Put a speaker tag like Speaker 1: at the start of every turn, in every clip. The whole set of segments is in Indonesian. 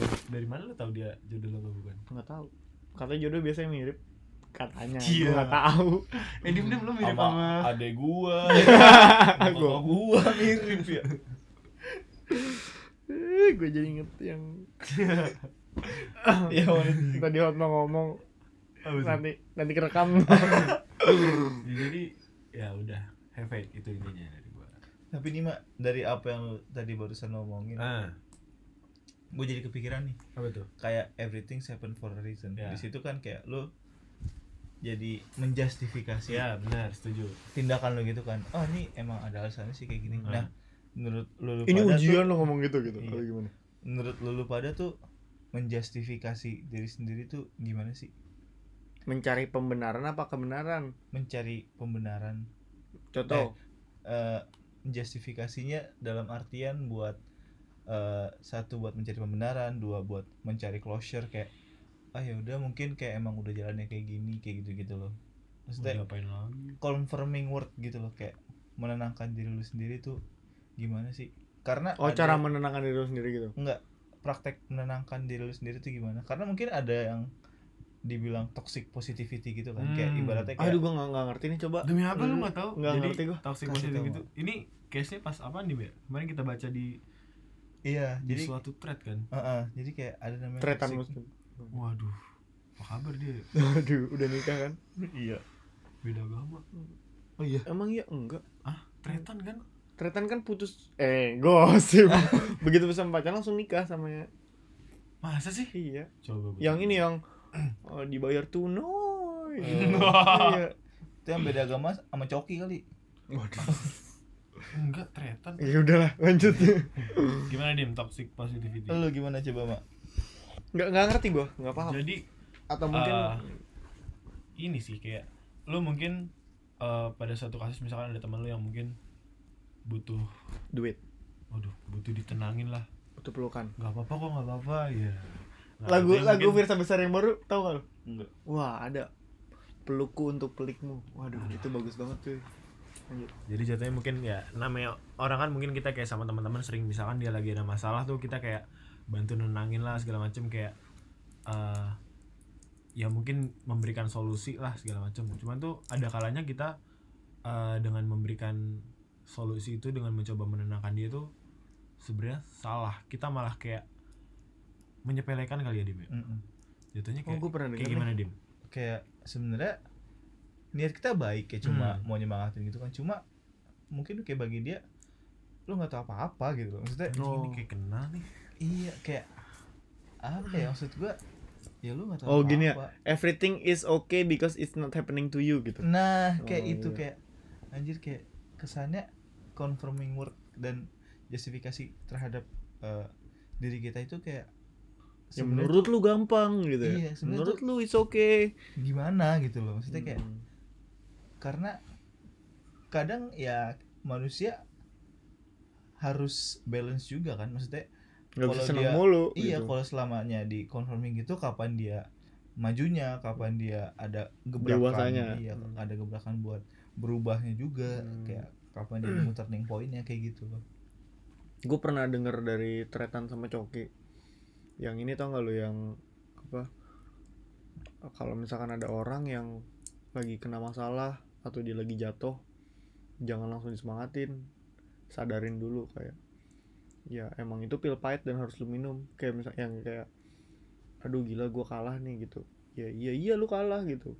Speaker 1: gitu. dari mana lu tahu dia jodoh lo apa bukan
Speaker 2: nggak tahu katanya jodoh biasanya mirip katanya
Speaker 1: Iya.
Speaker 2: gue nggak tahu
Speaker 1: eh diem diem lu mirip
Speaker 3: sama
Speaker 1: sama
Speaker 3: adek gua
Speaker 1: gua gua mirip ya
Speaker 2: gue Eh, jadi inget yang
Speaker 1: ya maksudnya.
Speaker 2: tadi Hotma ngomong
Speaker 1: Apa sih?
Speaker 2: nanti nanti kerekam
Speaker 1: jadi ya udah have faith itu intinya dari gua
Speaker 3: tapi ini mak dari apa yang lu tadi barusan ngomongin
Speaker 1: ah
Speaker 3: gue jadi kepikiran nih
Speaker 1: apa tuh
Speaker 3: kayak everything happen for a reason
Speaker 1: Ya.
Speaker 3: di situ kan kayak lu jadi menjustifikasi
Speaker 1: ya benar setuju
Speaker 3: tindakan lu gitu kan oh ini emang ada alasannya sih kayak gini
Speaker 1: Hmm.
Speaker 3: nah menurut lu, lu
Speaker 2: ini
Speaker 3: pada
Speaker 2: ujian
Speaker 3: tuh,
Speaker 2: lo ngomong gitu gitu
Speaker 3: Iya.
Speaker 2: atau gimana
Speaker 3: menurut lu, lu pada tuh menjustifikasi diri sendiri tuh gimana sih
Speaker 2: mencari pembenaran apa kebenaran
Speaker 3: mencari pembenaran
Speaker 2: contoh
Speaker 3: eh justifikasinya dalam artian buat eh, satu buat mencari pembenaran dua buat mencari closure kayak ah ya udah mungkin kayak emang udah jalannya kayak gini kayak gitu gitu loh
Speaker 1: mau
Speaker 3: maksudnya
Speaker 1: diapain lagi
Speaker 3: confirming word gitu loh kayak menenangkan diri lu sendiri tuh gimana sih karena
Speaker 2: oh
Speaker 3: ada
Speaker 2: cara menenangkan diri lo sendiri gitu
Speaker 3: praktek menenangkan diri lu sendiri tuh gimana karena mungkin ada yang dibilang toxic positivity gitu kan kayak
Speaker 1: Hmm.
Speaker 3: ibaratnya kayak
Speaker 2: aduh gue nggak nggak ngerti nih coba
Speaker 1: demi apa lu
Speaker 2: Hmm,
Speaker 1: nggak tahu
Speaker 2: nggak
Speaker 1: jadi
Speaker 2: ngerti gua.
Speaker 1: toxic
Speaker 3: Kasih
Speaker 1: positive
Speaker 3: tahu.
Speaker 1: gitu ini case nya pas apa nih Bel? kemarin kita baca di
Speaker 3: iya
Speaker 1: di
Speaker 3: jadi
Speaker 1: suatu thread kan
Speaker 3: Heeh, jadi kayak ada namanya
Speaker 2: tretan
Speaker 3: toxic-
Speaker 2: muslim
Speaker 1: waduh apa kabar dia ya?
Speaker 2: aduh udah nikah kan
Speaker 3: iya
Speaker 1: beda agama
Speaker 3: oh iya
Speaker 2: emang iya enggak
Speaker 1: ah tretan kan
Speaker 2: tretan kan putus eh gosip begitu pesan pacaran langsung nikah sama
Speaker 1: masa sih
Speaker 2: iya
Speaker 1: coba gua
Speaker 2: yang
Speaker 1: tanya.
Speaker 2: ini yang oh, dibayar tunai
Speaker 1: Eh.
Speaker 2: iya.
Speaker 3: itu yang beda agama sama coki kali
Speaker 1: enggak tretan
Speaker 2: ya udahlah lanjut
Speaker 1: gimana dim toxic positivity
Speaker 3: lu
Speaker 2: Gitu.
Speaker 3: gimana coba mak
Speaker 2: nggak nggak ngerti gua nggak Eh, paham
Speaker 1: jadi
Speaker 2: atau mungkin
Speaker 3: eh.
Speaker 1: Ah. ini sih kayak lu mungkin eh, pada suatu kasus misalkan ada teman lu yang mungkin butuh
Speaker 2: duit
Speaker 1: waduh butuh ditenangin lah
Speaker 2: untuk pelukan
Speaker 1: nggak apa-apa kok nggak apa-apa ya Nah,
Speaker 2: lagu
Speaker 1: itu yang
Speaker 2: lagu
Speaker 1: mungkin-
Speaker 2: Virsa Besar yang baru tahu nggak lu?
Speaker 3: enggak
Speaker 2: wah ada pelukku untuk pelikmu waduh itu bagus banget cuy lanjut
Speaker 1: jadi jatuhnya mungkin ya namanya orang kan mungkin kita kayak sama teman-teman sering misalkan dia lagi ada masalah tuh kita kayak bantu nenangin lah segala macem kayak eh ya mungkin memberikan solusi lah segala macem cuman tuh ada kalanya kita eh, dengan memberikan solusi itu dengan mencoba menenangkan dia tuh sebenarnya salah kita malah kayak menyepelekan kali ya dim ya? jatuhnya
Speaker 2: oh
Speaker 1: kayak,
Speaker 2: gue pernah
Speaker 1: kayak
Speaker 2: dengar
Speaker 1: gimana dim
Speaker 3: kayak sebenarnya niat kita baik ya cuma
Speaker 1: Hmm.
Speaker 2: Mm.
Speaker 3: mau nyemangatin gitu kan cuma mungkin kayak bagi dia lu nggak tahu apa-apa gitu loh maksudnya
Speaker 1: Anjing,
Speaker 2: oh.
Speaker 1: ini kayak kenal nih
Speaker 3: iya kayak apa ya maksud gua ya lu nggak tahu
Speaker 2: Oh, gini ya?
Speaker 3: apa-apa.
Speaker 2: everything is okay because it's not happening to you gitu
Speaker 3: nah kayak
Speaker 2: Oh,
Speaker 3: itu
Speaker 2: iya.
Speaker 3: kayak anjir kayak kesannya confirming word dan justifikasi terhadap eh, diri kita itu kayak
Speaker 2: ya
Speaker 3: sebenarnya
Speaker 2: menurut lu gampang gitu ya
Speaker 3: Iya, sebenarnya
Speaker 2: menurut lu it's okay
Speaker 3: gimana gitu loh maksudnya kayak
Speaker 2: Hmm.
Speaker 3: karena kadang ya manusia harus balance juga kan maksudnya
Speaker 2: nggak bisa
Speaker 3: kalau
Speaker 2: seneng
Speaker 3: dia-
Speaker 2: mulu
Speaker 3: iya
Speaker 2: gitu.
Speaker 3: kalau selamanya di confirming gitu kapan dia majunya kapan dia ada gebrakan
Speaker 2: Dewasanya.
Speaker 3: iya
Speaker 2: Hmm.
Speaker 3: ada gebrakan buat berubahnya juga
Speaker 2: Hmm.
Speaker 3: kayak kapan dia mau turning pointnya kayak gitu loh
Speaker 2: gue pernah denger dari tretan sama coki yang ini tau gak lo yang apa kalau misalkan ada orang yang lagi kena masalah atau dia lagi jatuh jangan langsung disemangatin sadarin dulu kayak ya emang itu pil pahit dan harus lu minum kayak misal yang kayak aduh gila gua kalah nih gitu ya iya iya lu kalah gitu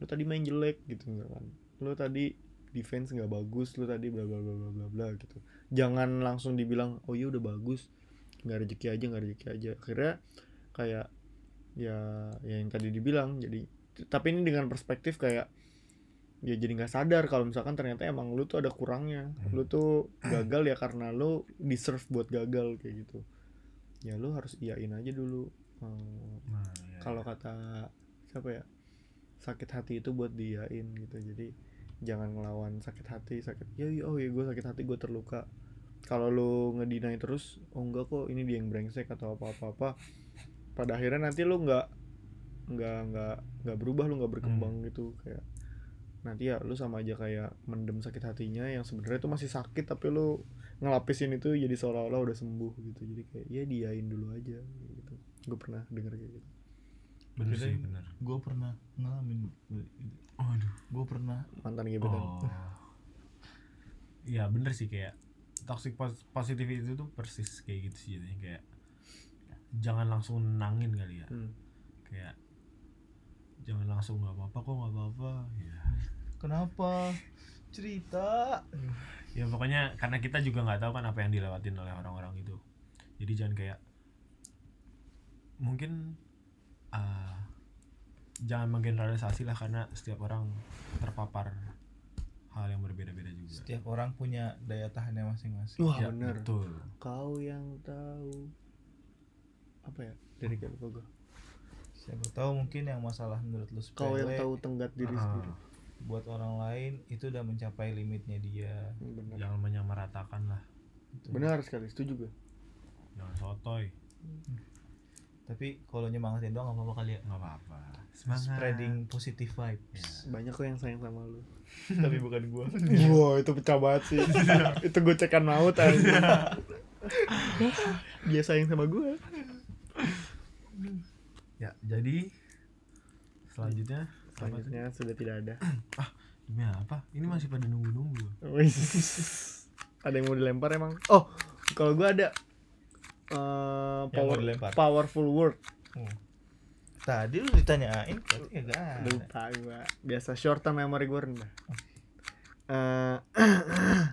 Speaker 2: lu tadi main jelek gitu misalkan lu tadi defense nggak bagus lu tadi bla bla bla bla bla bla gitu jangan langsung dibilang oh iya udah bagus nggak rezeki aja nggak rezeki aja akhirnya kayak ya ya yang tadi dibilang jadi tapi ini dengan perspektif kayak ya jadi nggak sadar kalau misalkan ternyata emang lu tuh ada kurangnya lu tuh gagal ya karena lu deserve buat gagal kayak gitu ya lu harus iyain aja dulu Hmm,
Speaker 1: Nah, iya.
Speaker 2: kalau kata siapa ya sakit hati itu buat diain gitu jadi jangan ngelawan sakit hati sakit ya ya, oh ya gue sakit hati gue terluka kalau lu ngedinai terus oh enggak kok ini dia yang brengsek atau apa apa apa pada akhirnya nanti lu nggak nggak nggak nggak berubah lu nggak berkembang
Speaker 1: Hmm.
Speaker 2: gitu kayak nanti ya lu sama aja kayak mendem sakit hatinya yang sebenarnya itu masih sakit tapi lu ngelapisin itu jadi seolah-olah udah sembuh gitu jadi kayak ya diain dulu aja gitu gue pernah denger kayak gitu
Speaker 1: bener sih
Speaker 3: Kirain-
Speaker 1: bener
Speaker 3: gue pernah ngalamin
Speaker 1: aduh
Speaker 3: gue pernah
Speaker 2: mantan gebetan
Speaker 1: oh iya bener sih kayak toxic pos- positivity itu tuh persis kayak gitu sih jadinya kayak jangan langsung nangin kali ya
Speaker 2: Hmm.
Speaker 1: kayak jangan langsung nggak apa-apa kok nggak apa-apa ya
Speaker 3: kenapa cerita
Speaker 1: ya pokoknya karena kita juga nggak tahu kan apa yang dilewatin oleh orang-orang itu jadi jangan kayak mungkin eh, jangan menggeneralisasi lah karena setiap orang terpapar hal yang berbeda-beda juga
Speaker 3: setiap orang punya daya tahannya masing-masing
Speaker 2: wah
Speaker 1: Ya,
Speaker 2: bener
Speaker 1: betul
Speaker 2: kau yang tahu apa ya dari gak lupa gue
Speaker 3: siapa tahu mungkin yang masalah menurut lu
Speaker 2: kau yang
Speaker 3: sepele,
Speaker 2: tahu tenggat diri
Speaker 1: Ah,
Speaker 2: sendiri
Speaker 3: buat orang lain itu udah mencapai limitnya dia
Speaker 2: Hmm, benar
Speaker 1: jangan menyamaratakan lah
Speaker 2: benar sekali setuju gue
Speaker 1: jangan sotoy
Speaker 3: tapi kalau nyemangatin doang gak apa-apa kali ya
Speaker 1: nggak apa-apa semangat
Speaker 3: spreading positive vibes
Speaker 2: banyak kok yang sayang sama lu
Speaker 3: Ya. tapi bukan gua
Speaker 2: Wow, itu pecah banget sih. itu gue cekan maut aja. Dia sayang sama gue.
Speaker 1: ya jadi selanjutnya apa tuh?
Speaker 2: Selanjutnya sudah tidak ada.
Speaker 1: demi apa ini masih pada nunggu-nunggu
Speaker 2: Wis. ada yang mau dilempar emang? Oh, kalau gue ada eh,
Speaker 3: Yang mau
Speaker 2: power,
Speaker 3: dilempar.
Speaker 2: powerful word.
Speaker 3: Hmm. tadi lu ditanyain berarti kagak ada
Speaker 2: Lupa gue. Biasa short term memory gue rendah. Eh,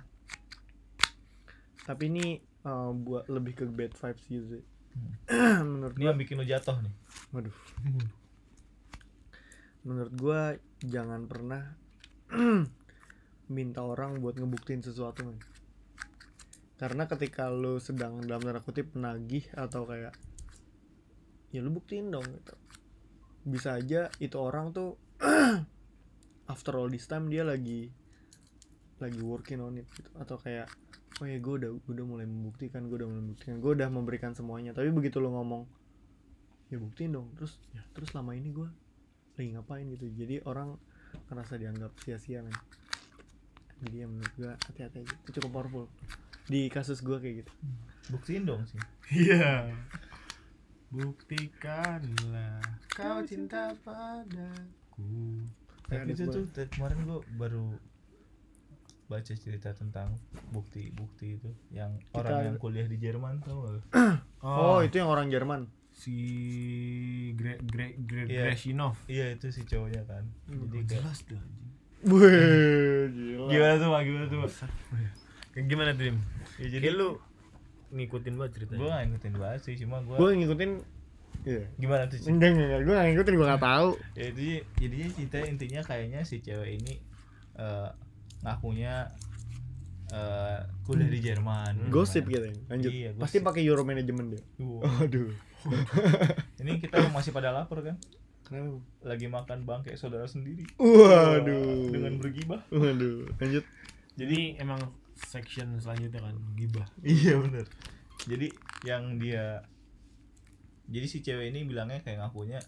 Speaker 2: tapi ini eh, buat lebih ke bad vibes gitu sih. Menurut
Speaker 3: ini yang bikin lu jatuh nih
Speaker 2: Waduh. Menurut gua jangan pernah minta orang buat ngebuktiin sesuatu men. Karena ketika lu sedang dalam tanda kutip nagih atau kayak ya lu buktiin dong gitu. Bisa aja itu orang tuh after all this time dia lagi lagi working on it gitu atau kayak oh ya gue udah gua udah mulai membuktikan gue udah mulai membuktikan gue udah memberikan semuanya tapi begitu lu ngomong ya buktiin dong terus ya terus selama ini gue lagi ngapain gitu jadi orang ngerasa dianggap sia-sia men jadi ya menurut gue hati-hati aja itu cukup powerful di kasus gue kayak gitu
Speaker 3: buktiin dong sih
Speaker 1: Iya. Buktikanlah kau cinta padaku.
Speaker 2: Kayak
Speaker 3: tapi
Speaker 2: ada
Speaker 3: itu
Speaker 2: gua.
Speaker 3: tuh dari kemarin Ya, gua baru baca cerita tentang bukti-bukti itu yang orang yang kuliah di Jerman tuh
Speaker 2: oh, itu yang orang Jerman
Speaker 1: si Gre Gre Gre
Speaker 3: Iya.
Speaker 1: Greshinov.
Speaker 3: iya itu si cowoknya kan jadi
Speaker 1: Oh,
Speaker 3: kayak
Speaker 1: jelas dah. anjing.
Speaker 2: Wih, gila.
Speaker 3: gimana tuh Mak? gimana tuh Mak?
Speaker 1: Oh, iya. Kayak gimana Dream?
Speaker 3: ya,
Speaker 1: Jadi
Speaker 3: jadi
Speaker 1: lu ngikutin banget ceritanya.
Speaker 3: gua gak ngikutin banget sih cuma gua
Speaker 2: gue ngikutin iya
Speaker 3: gimana tuh Ci?
Speaker 2: enggak enggak, enggak. gue gak ngikutin gue gak tahu
Speaker 3: ya itu sih, jadinya cerita intinya kayaknya si cewek ini eh, ngakunya eh, kuliah di Jerman
Speaker 2: gosip gitu ya lanjut
Speaker 3: Iya,
Speaker 2: pasti
Speaker 3: gosip.
Speaker 2: pakai euro management dia
Speaker 3: Wow.
Speaker 2: aduh
Speaker 3: ini kita masih pada lapar kan
Speaker 2: kenapa Bang?
Speaker 3: lagi makan bangke saudara sendiri
Speaker 2: waduh
Speaker 3: dengan bergibah
Speaker 2: waduh lanjut
Speaker 1: Jadi emang section selanjutnya kan gibah.
Speaker 3: iya bener jadi yang dia jadi si cewek ini bilangnya kayak ngakunya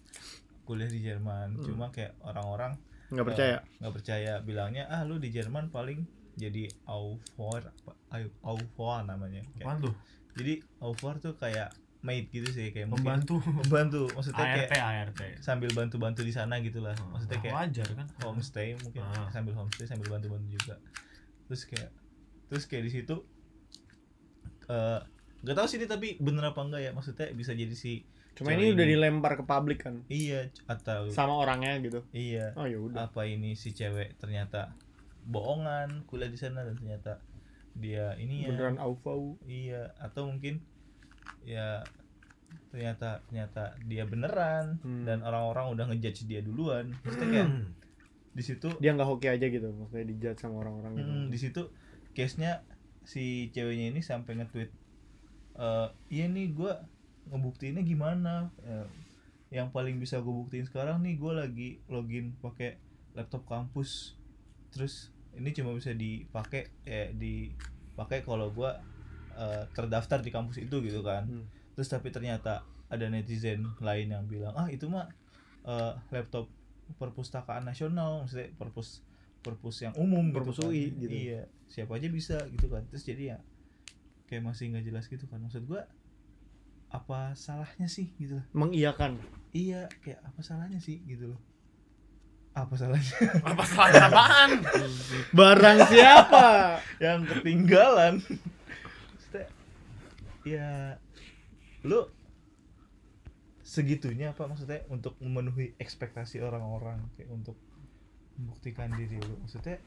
Speaker 3: kuliah di Jerman
Speaker 2: Hmm.
Speaker 3: cuma kayak orang-orang
Speaker 2: nggak percaya
Speaker 3: eh, nggak percaya bilangnya ah lu di Jerman paling jadi au revoir apa au- au revoir namanya Kayak-
Speaker 1: Apaan tuh?
Speaker 3: jadi au revoir tuh kayak maid gitu sih kayak mungkin-
Speaker 1: Membantu
Speaker 3: membantu maksudnya kayak
Speaker 1: ART ART.
Speaker 3: sambil bantu-bantu di sana gitulah
Speaker 1: Nah,
Speaker 3: maksudnya kayak
Speaker 1: wajar kan?
Speaker 3: homestay mungkin
Speaker 1: Ah.
Speaker 3: sambil homestay sambil bantu-bantu juga terus kayak terus kayak di situ eh gak tahu sih ini tapi bener apa enggak ya maksudnya bisa jadi si
Speaker 2: cuma
Speaker 3: cewek
Speaker 2: ini udah dilempar ke publik kan
Speaker 3: iya c- atau
Speaker 2: sama orangnya gitu
Speaker 3: iya
Speaker 2: oh ya udah
Speaker 3: apa ini si cewek ternyata bohongan kuliah di sana dan ternyata dia ini ya
Speaker 2: beneran au fau
Speaker 3: iya atau mungkin ya ternyata ternyata dia beneran
Speaker 2: Hmm.
Speaker 3: dan orang-orang udah ngejudge dia duluan maksudnya kayak di situ
Speaker 2: dia nggak hoki aja gitu maksudnya dijat sama orang-orang gitu
Speaker 3: Hmm, di situ case-nya si ceweknya ini sampai nge-tweet eh iya nih gua ngebuktiinnya gimana? Eh, yang paling bisa gue buktiin sekarang nih gua lagi login pakai laptop kampus. Terus ini cuma bisa dipakai eh dipakai kalau gua eh, terdaftar di kampus itu gitu kan.
Speaker 2: Hmm.
Speaker 3: Terus tapi ternyata ada netizen lain yang bilang, "Ah, itu mah eh, laptop perpustakaan nasional, maksudnya perpus perpus yang umum
Speaker 2: Perpus
Speaker 3: gitu kan.
Speaker 2: UI gitu.
Speaker 3: Iya, siapa aja bisa gitu kan. Terus jadi ya kayak masih nggak jelas gitu kan. Maksud gua apa salahnya sih gitu loh
Speaker 2: mengiyakan
Speaker 3: iya kayak apa salahnya sih gitu loh apa salahnya
Speaker 1: apa salahnya apaan
Speaker 2: barang siapa
Speaker 3: yang ketinggalan Maksudnya, ya lu segitunya apa maksudnya untuk memenuhi ekspektasi orang-orang kayak untuk membuktikan diri lu maksudnya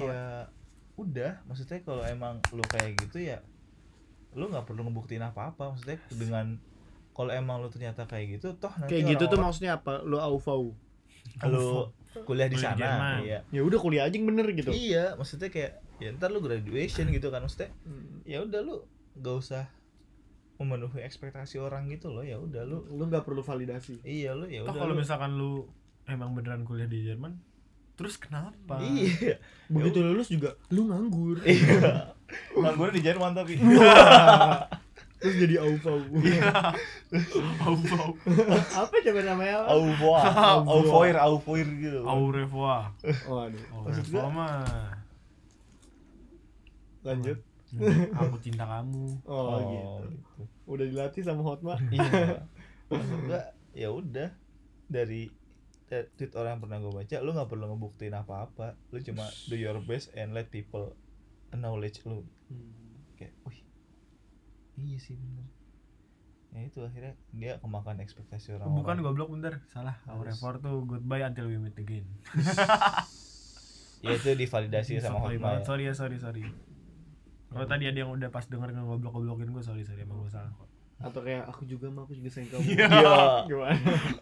Speaker 3: ya udah maksudnya kalau emang lu kayak gitu ya lu nggak perlu ngebuktiin apa-apa maksudnya dengan kalau emang lu ternyata kayak gitu toh nanti
Speaker 2: kayak gitu tuh
Speaker 3: orang-orang-
Speaker 2: maksudnya apa lu au fau
Speaker 3: lu kuliah di
Speaker 1: Kuliah di Jerman.
Speaker 3: sana iya
Speaker 2: ya udah kuliah aja yang bener gitu
Speaker 3: Iya, maksudnya kayak ya ntar lu graduation gitu kan maksudnya.
Speaker 2: Hmm.
Speaker 3: Ya udah lu gak usah memenuhi ekspektasi orang gitu loh. Ya udah lu
Speaker 2: lu nggak perlu validasi
Speaker 3: Iya lu ya
Speaker 1: toh
Speaker 3: udah.
Speaker 1: kalau
Speaker 3: lu-
Speaker 1: misalkan lu emang beneran kuliah di Jerman terus kenapa
Speaker 3: Iya.
Speaker 2: begitu lulus juga lu nganggur
Speaker 3: Iya. Nganggur di Jerman tapi.
Speaker 2: terus jadi au fau Iya.
Speaker 1: au au
Speaker 2: apa coba namanya apa?
Speaker 3: Au revoir, au foir, au foir gitu.
Speaker 1: au revoir
Speaker 2: waduh
Speaker 1: au
Speaker 3: Maksud
Speaker 1: revoir
Speaker 3: gua-
Speaker 1: mah
Speaker 2: lanjut
Speaker 1: aku cinta kamu
Speaker 2: oh,
Speaker 3: Oh,
Speaker 2: gitu
Speaker 3: gitu.
Speaker 2: udah dilatih sama Hotma
Speaker 3: Iya. Maksud gua, ya udah dari dari tweet orang yang pernah gue baca lu nggak perlu ngebuktiin apa-apa lu cuma do your best and let people acknowledge lu
Speaker 2: Hmm.
Speaker 3: kayak wih iya sih bener ya itu akhirnya dia kemakan ekspektasi
Speaker 1: gitu.
Speaker 3: orang
Speaker 1: bukan goblok bentar salah au
Speaker 3: Harus.
Speaker 1: revoir tuh goodbye until we meet again
Speaker 3: ya itu divalidasi sama
Speaker 1: Sotoy
Speaker 3: Hotma
Speaker 1: banget.
Speaker 3: ya.
Speaker 1: sorry ya sorry sorry kalau tadi ada yang udah pas denger ngegoblok goblokin gue sorry sorry emang gue salah kok
Speaker 2: atau kayak aku juga mah aku juga sayang kamu
Speaker 1: Iya.
Speaker 3: Iya.
Speaker 2: gimana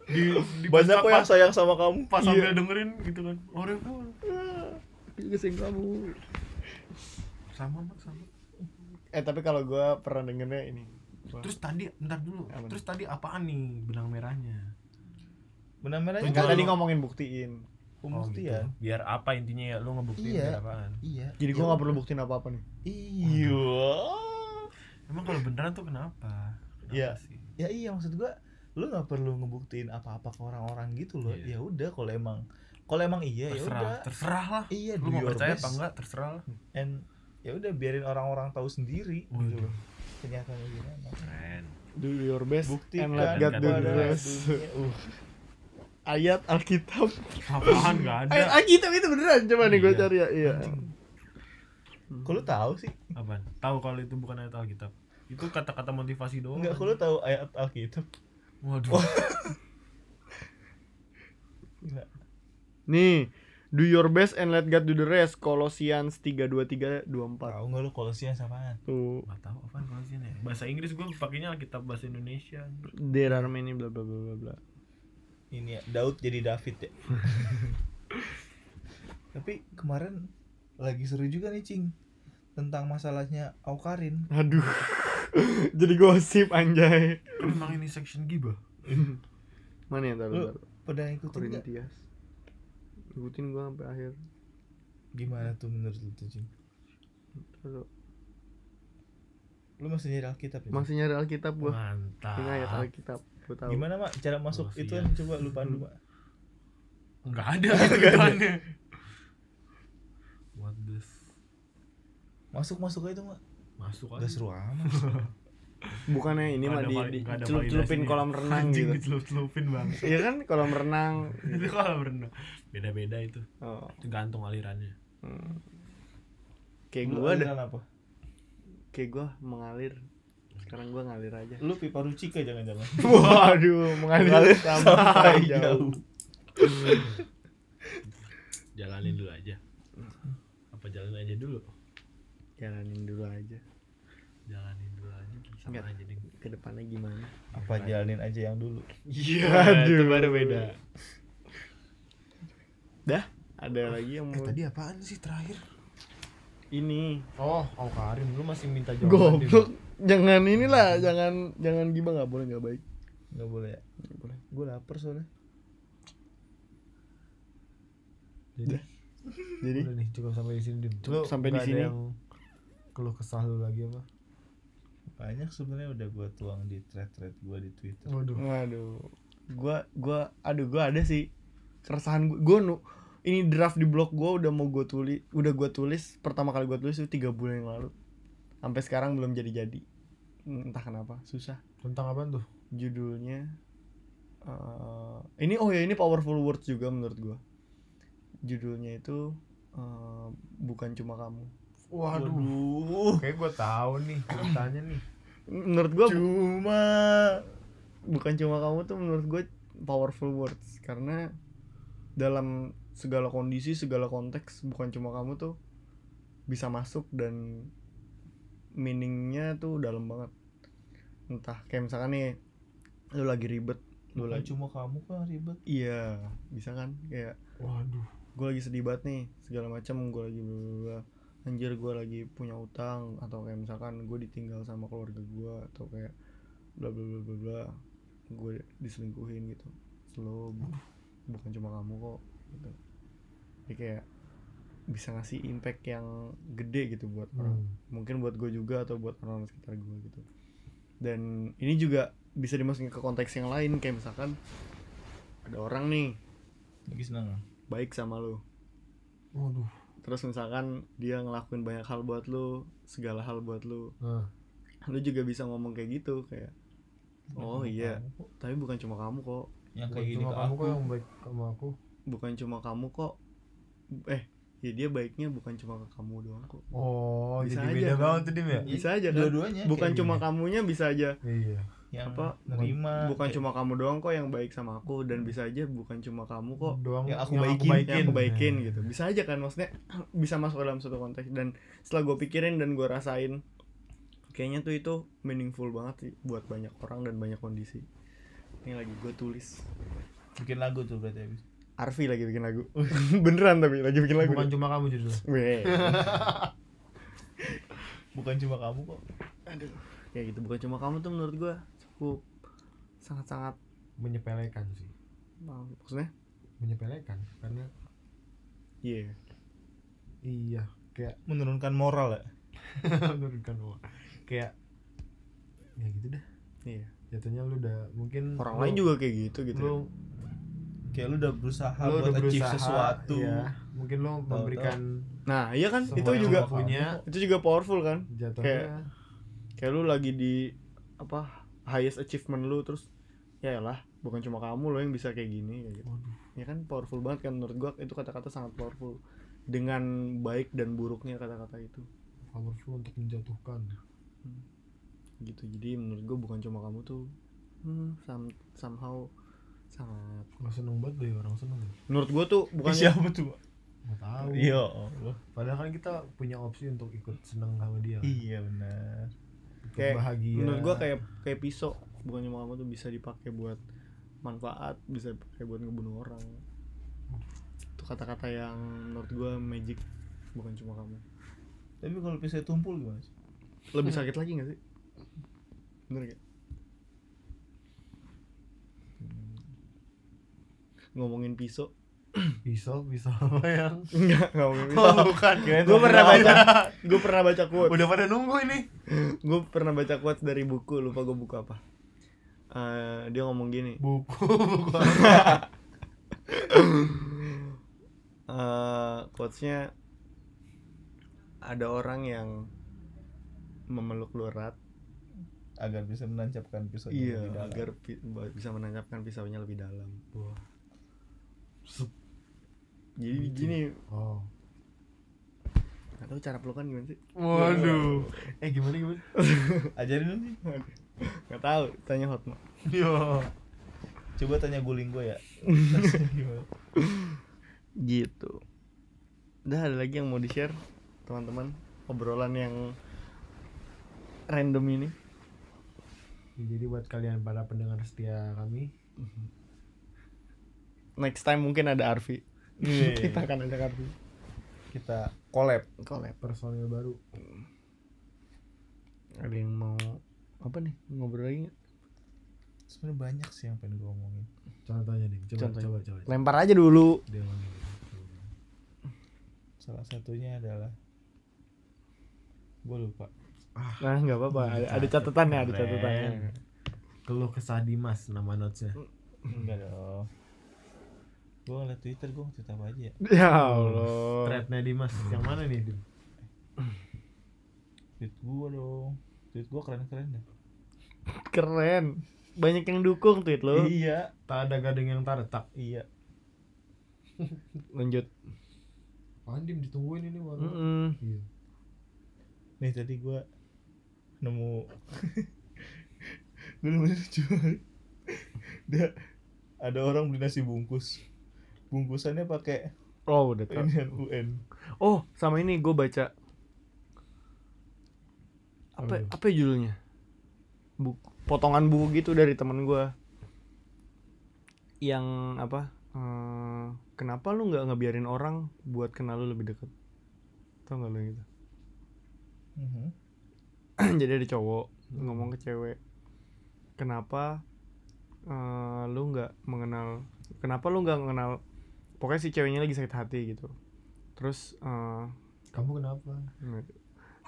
Speaker 1: di, di
Speaker 3: banyak
Speaker 1: pas-
Speaker 3: kok yang sayang sama kamu
Speaker 1: pas sambil dengerin gitu kan au revoir
Speaker 2: aku juga sayang kamu
Speaker 1: sama mak sama
Speaker 2: eh tapi kalau gue pernah dengernya ini Wah.
Speaker 1: terus tadi bentar dulu
Speaker 2: Apa?
Speaker 1: terus tadi apaan nih benang merahnya
Speaker 3: benar
Speaker 2: kan
Speaker 3: merahnya
Speaker 1: Enggak,
Speaker 2: tadi
Speaker 1: lu-
Speaker 2: ngomongin buktiin
Speaker 1: gitu.
Speaker 3: pembuktian
Speaker 1: biar apa intinya ya lu ngebuktiin
Speaker 3: ya. Iya.
Speaker 1: biar apaan
Speaker 3: iya
Speaker 2: jadi gue nggak perlu buktiin apa apa nih
Speaker 3: iya
Speaker 1: emang kalau beneran tuh kenapa Kenapa
Speaker 3: Iya.
Speaker 1: sih?
Speaker 3: ya iya maksud gua lu nggak perlu ngebuktiin apa-apa ke orang-orang gitu loh
Speaker 1: Iya.
Speaker 3: ya udah kalau emang kalau emang iya ya
Speaker 1: terserah
Speaker 3: udah
Speaker 1: terserah lah
Speaker 3: iya
Speaker 1: lu
Speaker 3: do
Speaker 1: mau
Speaker 3: your
Speaker 1: percaya apa
Speaker 3: best
Speaker 1: enggak terserah lah
Speaker 3: and ya udah biarin orang-orang tahu sendiri gitu
Speaker 1: Waduh.
Speaker 3: loh kenyataannya gimana
Speaker 1: keren
Speaker 2: do your best
Speaker 3: buktikan
Speaker 2: and let God do the
Speaker 3: kepada
Speaker 2: rest
Speaker 3: dunia. Uh,
Speaker 2: ayat Alkitab
Speaker 1: apaan nggak ada
Speaker 2: ayat Alkitab itu beneran coba nih gue
Speaker 1: Iya.
Speaker 2: cari ya iya
Speaker 3: kok lu tahu sih
Speaker 1: apaan tahu kalau itu bukan ayat alkitab itu kata-kata motivasi doang
Speaker 3: Enggak, kok lu tahu ayat Alkitab?
Speaker 1: waduh
Speaker 3: Gila.
Speaker 2: nih do your best and let God do the rest Kolosians 32324
Speaker 3: Tahu enggak lu Kolosians apaan?
Speaker 2: tuh
Speaker 1: nggak tahu apaan kalau sini ya bahasa Inggris gue pakainya alkitab bahasa Indonesia
Speaker 2: there are many bla bla bla bla bla
Speaker 3: Ini ya, Daud jadi David ya. Tapi kemarin lagi seru juga nih, Cing. Tentang masalahnya Aukarin.
Speaker 2: aduh jadi gosip anjay
Speaker 1: Kan emang ini section gibah
Speaker 2: mana ya ntar
Speaker 3: Lu
Speaker 2: ntar
Speaker 3: pada ngikutin nggak?
Speaker 2: Korintias ikutin gue sampai akhir
Speaker 3: Gimana tuh menurut lu tuh, Cing?
Speaker 2: Lalu,
Speaker 3: Lu masih nyari Alkitab ya? Cing?
Speaker 2: masih nyari Alkitab gue
Speaker 1: mantap
Speaker 2: ini ayat Alkitab gue tahu Hmm.
Speaker 3: Gimana, Mak? Cara masuk itu kan
Speaker 1: Kolosians.
Speaker 3: coba lu pandu, Mak.
Speaker 1: nggak ada gituannya what the f-
Speaker 3: Masuk-masuk aja itu, Mak.
Speaker 1: masuk aja
Speaker 3: Gak seru amat.
Speaker 2: bukannya ini
Speaker 1: Nggak
Speaker 2: mah
Speaker 1: ada
Speaker 2: di,
Speaker 1: vali-
Speaker 2: di
Speaker 1: nggak ada
Speaker 2: celup-celupin
Speaker 1: validasinya.
Speaker 2: kolam renang
Speaker 1: anjing
Speaker 2: gitu
Speaker 1: dicelup-celupin bang
Speaker 2: Iya kan kolam renang.
Speaker 1: itu kalau berenang beda-beda itu
Speaker 2: Oh.
Speaker 1: tergantung alirannya
Speaker 2: Hmm. Kayak
Speaker 3: Lu
Speaker 2: gua ada,
Speaker 3: aliran apa?
Speaker 2: kayak gua mengalir. Sekarang gua ngalir aja.
Speaker 3: Lu pipa rucika jangan-jangan.
Speaker 2: Waduh, mengalir sampai jauh.
Speaker 1: jalanin dulu aja apa jalanin aja dulu
Speaker 2: Jalanin dulu aja.
Speaker 1: jalanin dulu aja sama
Speaker 2: Nggak.
Speaker 1: aja deh
Speaker 2: Ke depannya gimana?
Speaker 3: Apa jalanin aja yang dulu.
Speaker 1: iya
Speaker 2: itu
Speaker 1: itu baru
Speaker 2: baru beda.
Speaker 1: beda
Speaker 2: Dah, ada lagi yang mau
Speaker 1: apaan sih terakhir
Speaker 2: ini.
Speaker 1: oh oh Karim lu masih minta jawaban Dim.
Speaker 2: Goblok. Jangan inilah, jangan jangan gimana nggak boleh nggak baik.
Speaker 3: Gak boleh ya?
Speaker 2: Nggak boleh.
Speaker 3: Gue lapar soalnya.
Speaker 1: jadi
Speaker 2: Jadi
Speaker 1: udah nih cukup sampai di sini Dim.
Speaker 2: Cukup
Speaker 1: Lu
Speaker 2: sampai di
Speaker 1: nggak ada
Speaker 2: sini.
Speaker 1: yang keluh kesah lu lagi apa
Speaker 3: banyak sebenarnya udah gue tuang di thread-thread gue di Twitter.
Speaker 1: waduh
Speaker 2: Waduh. Gua gua aduh gua ada sih keresahan gua. Gua nu, ini draft di blog gua udah mau gua tulis, udah gua tulis pertama kali gua tulis itu tiga bulan yang lalu. Sampai sekarang belum jadi-jadi. Hmm, entah kenapa susah
Speaker 1: Tentang apa tuh?
Speaker 2: judulnya eh, ini oh ya ini powerful words juga menurut gua judulnya itu eh, bukan cuma kamu
Speaker 1: Waduh. Kayak gue tahu nih ceritanya nih.
Speaker 2: menurut gua cuma bukan cuma kamu tuh menurut gue powerful words karena dalam segala kondisi segala konteks bukan cuma kamu tuh bisa masuk dan meaningnya tuh dalam banget entah kayak misalkan nih lu lagi ribet lu
Speaker 3: Bukan
Speaker 2: lagi
Speaker 3: cuma kamu kan ribet
Speaker 2: iya bisa kan kayak
Speaker 1: Waduh.
Speaker 2: gue lagi sedih banget nih segala macam gue lagi bla bla bla. anjir gue lagi punya utang atau kayak misalkan gue ditinggal sama keluarga gue atau kayak bla bla bla bla bla gue diselingkuhin gitu slow bu- bukan cuma kamu kok gitu jadi kayak bisa ngasih impact yang gede gitu buat orang
Speaker 1: Hmm.
Speaker 2: mungkin buat gue juga atau buat orang sekitar gue gitu dan ini juga bisa dimasukin ke konteks yang lain kayak misalkan ada orang nih
Speaker 3: lagi senang ah.
Speaker 2: baik sama lo
Speaker 1: Waduh.
Speaker 2: terus misalkan dia ngelakuin banyak hal buat lu segala hal buat lu
Speaker 1: Nah.
Speaker 2: lu juga bisa ngomong kayak gitu kayak
Speaker 3: Bukan
Speaker 2: oh
Speaker 3: cuma
Speaker 2: iya
Speaker 3: kamu kok.
Speaker 2: tapi bukan cuma kamu kok
Speaker 3: yang kayak
Speaker 1: bukan
Speaker 3: gini
Speaker 1: cuma
Speaker 3: ke
Speaker 1: kamu
Speaker 3: aku
Speaker 1: kok yang baik sama aku.
Speaker 2: bukan cuma kamu kok eh ya dia baiknya bukan cuma ke kamu doang kok
Speaker 1: Oh,
Speaker 2: Bisa
Speaker 1: jadi
Speaker 2: aja,
Speaker 1: beda
Speaker 2: kan?
Speaker 1: banget tuh Dim ya?
Speaker 2: Bisa aja, kan?
Speaker 3: Iya, dua-duanya
Speaker 2: bukan
Speaker 3: kayak
Speaker 2: cuma
Speaker 3: gini.
Speaker 2: kamunya bisa aja
Speaker 1: Iya.
Speaker 3: yang
Speaker 2: apa,
Speaker 3: nerima
Speaker 2: bukan
Speaker 3: Ah, kayak-
Speaker 2: cuma kamu doang kok yang baik sama aku dan bisa aja bukan cuma kamu kok
Speaker 1: Doang
Speaker 3: Yang aku baikin,
Speaker 2: yang aku baikin
Speaker 1: Nah.
Speaker 2: gitu bisa aja kan maksudnya bisa masuk ke dalam suatu konteks dan setelah gue pikirin dan gue rasain kayaknya tuh itu meaningful banget sih buat banyak orang dan banyak kondisi ini lagi gue tulis
Speaker 3: bikin lagu tuh berarti habis
Speaker 2: Arfi lagi bikin lagu beneran tapi lagi bikin lagu
Speaker 1: Bukan
Speaker 2: dia.
Speaker 1: cuma kamu judul.
Speaker 2: Weh.
Speaker 3: bukan cuma kamu kok
Speaker 2: aduh ya gitu bukan cuma kamu tuh menurut gue cukup sangat-sangat
Speaker 1: Menyepelekan sih.
Speaker 2: maksudnya
Speaker 1: Menyepelekan karena
Speaker 2: iya
Speaker 1: iya kayak
Speaker 3: menurunkan moral ya
Speaker 1: menurunkan gua. Kayak ya gitu dah.
Speaker 2: iya
Speaker 1: Jatuhnya lu udah mungkin
Speaker 2: orang
Speaker 1: lu-
Speaker 2: lain juga kayak gitu gitu
Speaker 1: lu,
Speaker 3: kayak lu udah berusaha
Speaker 1: lu
Speaker 3: buat
Speaker 1: udah
Speaker 3: achieve
Speaker 1: berusaha
Speaker 3: sesuatu
Speaker 1: iya. mungkin lu memberikan
Speaker 2: nah iya kan
Speaker 1: semua
Speaker 2: itu
Speaker 1: yang
Speaker 2: juga
Speaker 1: lu punya
Speaker 2: itu juga powerful kan Kayak-
Speaker 1: jatuhnya
Speaker 2: kayak lu lagi di apa highest achievement lu terus ya lah bukan cuma kamu lo yang bisa kayak gini kayak gitu.
Speaker 1: Waduh.
Speaker 2: ya kan powerful banget kan menurut gua itu kata-kata sangat powerful dengan baik dan buruknya kata-kata itu
Speaker 1: powerful untuk menjatuhkan
Speaker 2: gitu jadi menurut gua bukan cuma kamu tuh hmm, some- somehow sangat
Speaker 1: nggak seneng banget deh orang seneng ya
Speaker 2: menurut gua tuh
Speaker 3: bukan
Speaker 2: bukan
Speaker 3: siapa tuh Pak?
Speaker 1: nggak tahu
Speaker 3: iya Allah
Speaker 1: padahal kan kita punya opsi untuk ikut seneng sama dia kan?
Speaker 3: iya benar
Speaker 1: Ikut
Speaker 2: kayak
Speaker 1: bahagia
Speaker 2: Iya. menurut gua kayak kayak pisau bukan cuma kamu tuh bisa dipakai buat manfaat bisa dipakai buat ngebunuh orang itu kata-kata yang menurut gua magic bukan cuma kamu
Speaker 3: tapi kalau pisau tumpul gimana sih
Speaker 2: lebih sakit lagi gak sih bener gak ngomongin pisau
Speaker 1: pisau pisau apa ya? yang
Speaker 2: enggak ngomongin pisau
Speaker 3: bukan
Speaker 2: gue pernah baca gue pernah baca quote
Speaker 1: udah pada nunggu ini
Speaker 2: gue pernah baca quotes dari buku lupa gue buku apa Eh, dia ngomong gini
Speaker 1: buku buku apa?
Speaker 2: eh quotesnya ada orang yang memeluk lu erat
Speaker 3: agar bisa menancapkan pisau
Speaker 2: iya
Speaker 3: di dalam.
Speaker 2: agar pi- ba- bisa menancapkan pisaunya lebih dalam
Speaker 1: Wah. Sup.
Speaker 2: jadi
Speaker 1: Gitu.
Speaker 2: gini
Speaker 1: oh
Speaker 2: atau cara pelukan gimana sih
Speaker 1: waduh eh gimana gimana
Speaker 3: ajarin dong sih
Speaker 2: nggak tahu tanya Hotma Iya.
Speaker 1: yo
Speaker 3: coba tanya guling gue ya Gimana?
Speaker 2: gitu udah ada lagi yang mau di share teman-teman obrolan yang random ini
Speaker 1: Ya, jadi buat kalian para pendengar setia kami
Speaker 2: next time mungkin ada Arfi
Speaker 3: Iya.
Speaker 2: kita akan ajak Arfi
Speaker 3: kita collab
Speaker 2: collab
Speaker 1: personil baru
Speaker 2: ada yang mau apa nih ngobrol lagi nggak?
Speaker 3: sebenarnya banyak sih yang pengen gue omongin
Speaker 1: contohnya nih coba
Speaker 2: Contohnya.
Speaker 1: coba coba, coba.
Speaker 2: lempar aja dulu
Speaker 1: dia ngomong
Speaker 3: salah satunya adalah gue lupa
Speaker 2: nah nggak apa-apa ada, ada catatannya ada ya.
Speaker 3: Keren.
Speaker 2: catatannya
Speaker 1: keluh kesah Dimas nama notesnya
Speaker 3: enggak dong gue ngeliat twitter gue tweet apa aja ya
Speaker 2: ya allah
Speaker 1: threadnya Dimas yang mana nih Dim?
Speaker 3: tweet gue dong tweet gue keren-keren dah
Speaker 2: Keren. Banyak yang dukung tweet lo.
Speaker 3: iya
Speaker 1: tak ada gading yang terletak
Speaker 3: iya
Speaker 2: Lanjut.
Speaker 1: Andim ditungguin ini baru
Speaker 2: Mm-mm.
Speaker 1: Iya.
Speaker 3: nih tadi gue nemu gue nemu lucu banget. Dia- ada orang beli nasi bungkus bungkusannya pakai
Speaker 2: Oh, udah tau.
Speaker 3: ini UN
Speaker 2: Oh, sama ini gue baca. Apa apa ya judulnya? Bu, potongan buku gitu dari temen gue. Yang apa? eh, kenapa lu nggak ngebiarin orang buat kenal lu lebih dekat? Tau nggak lu yang gitu?
Speaker 3: Mhm.
Speaker 2: jadi ada cowok ngomong ke cewek kenapa eh, lu nggak mengenal kenapa lu nggak mengenal pokoknya si ceweknya lagi sakit hati gitu terus eh,
Speaker 1: Kamu kenapa?
Speaker 2: nge-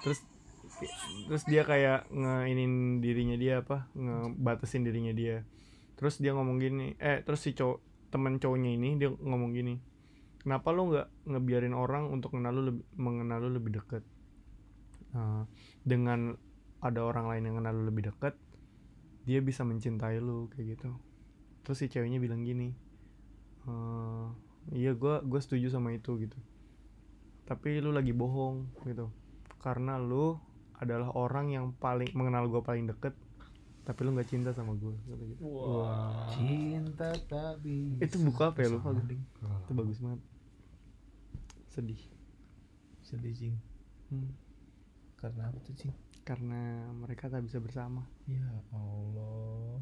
Speaker 2: terus terus dia kayak ngeinin dirinya dia apa ngebatasin dirinya dia terus dia ngomong gini eh terus si cowok teman cowoknya ini dia ngomong gini kenapa lu nggak ngebiarin orang untuk mengenal lu lebih, mengenal lu lebih dekat Eh, dengan ada orang lain yang kenal lu lebih dekat dia bisa mencintai lu kayak gitu terus si ceweknya bilang gini "Eh, iya gua gue setuju sama itu gitu tapi lu lagi bohong gitu karena lu adalah orang yang paling mengenal gue paling deket tapi lu nggak cinta sama gue gitu.
Speaker 1: Ah.
Speaker 2: Wah.
Speaker 1: Cinta tak bisa
Speaker 2: itu buku apa ya lu
Speaker 1: Sama gading.
Speaker 2: itu bagus banget sedih
Speaker 3: sedih cing
Speaker 2: Hmm,
Speaker 3: karena apa tuh cing
Speaker 2: karena mereka tak bisa bersama
Speaker 3: ya Allah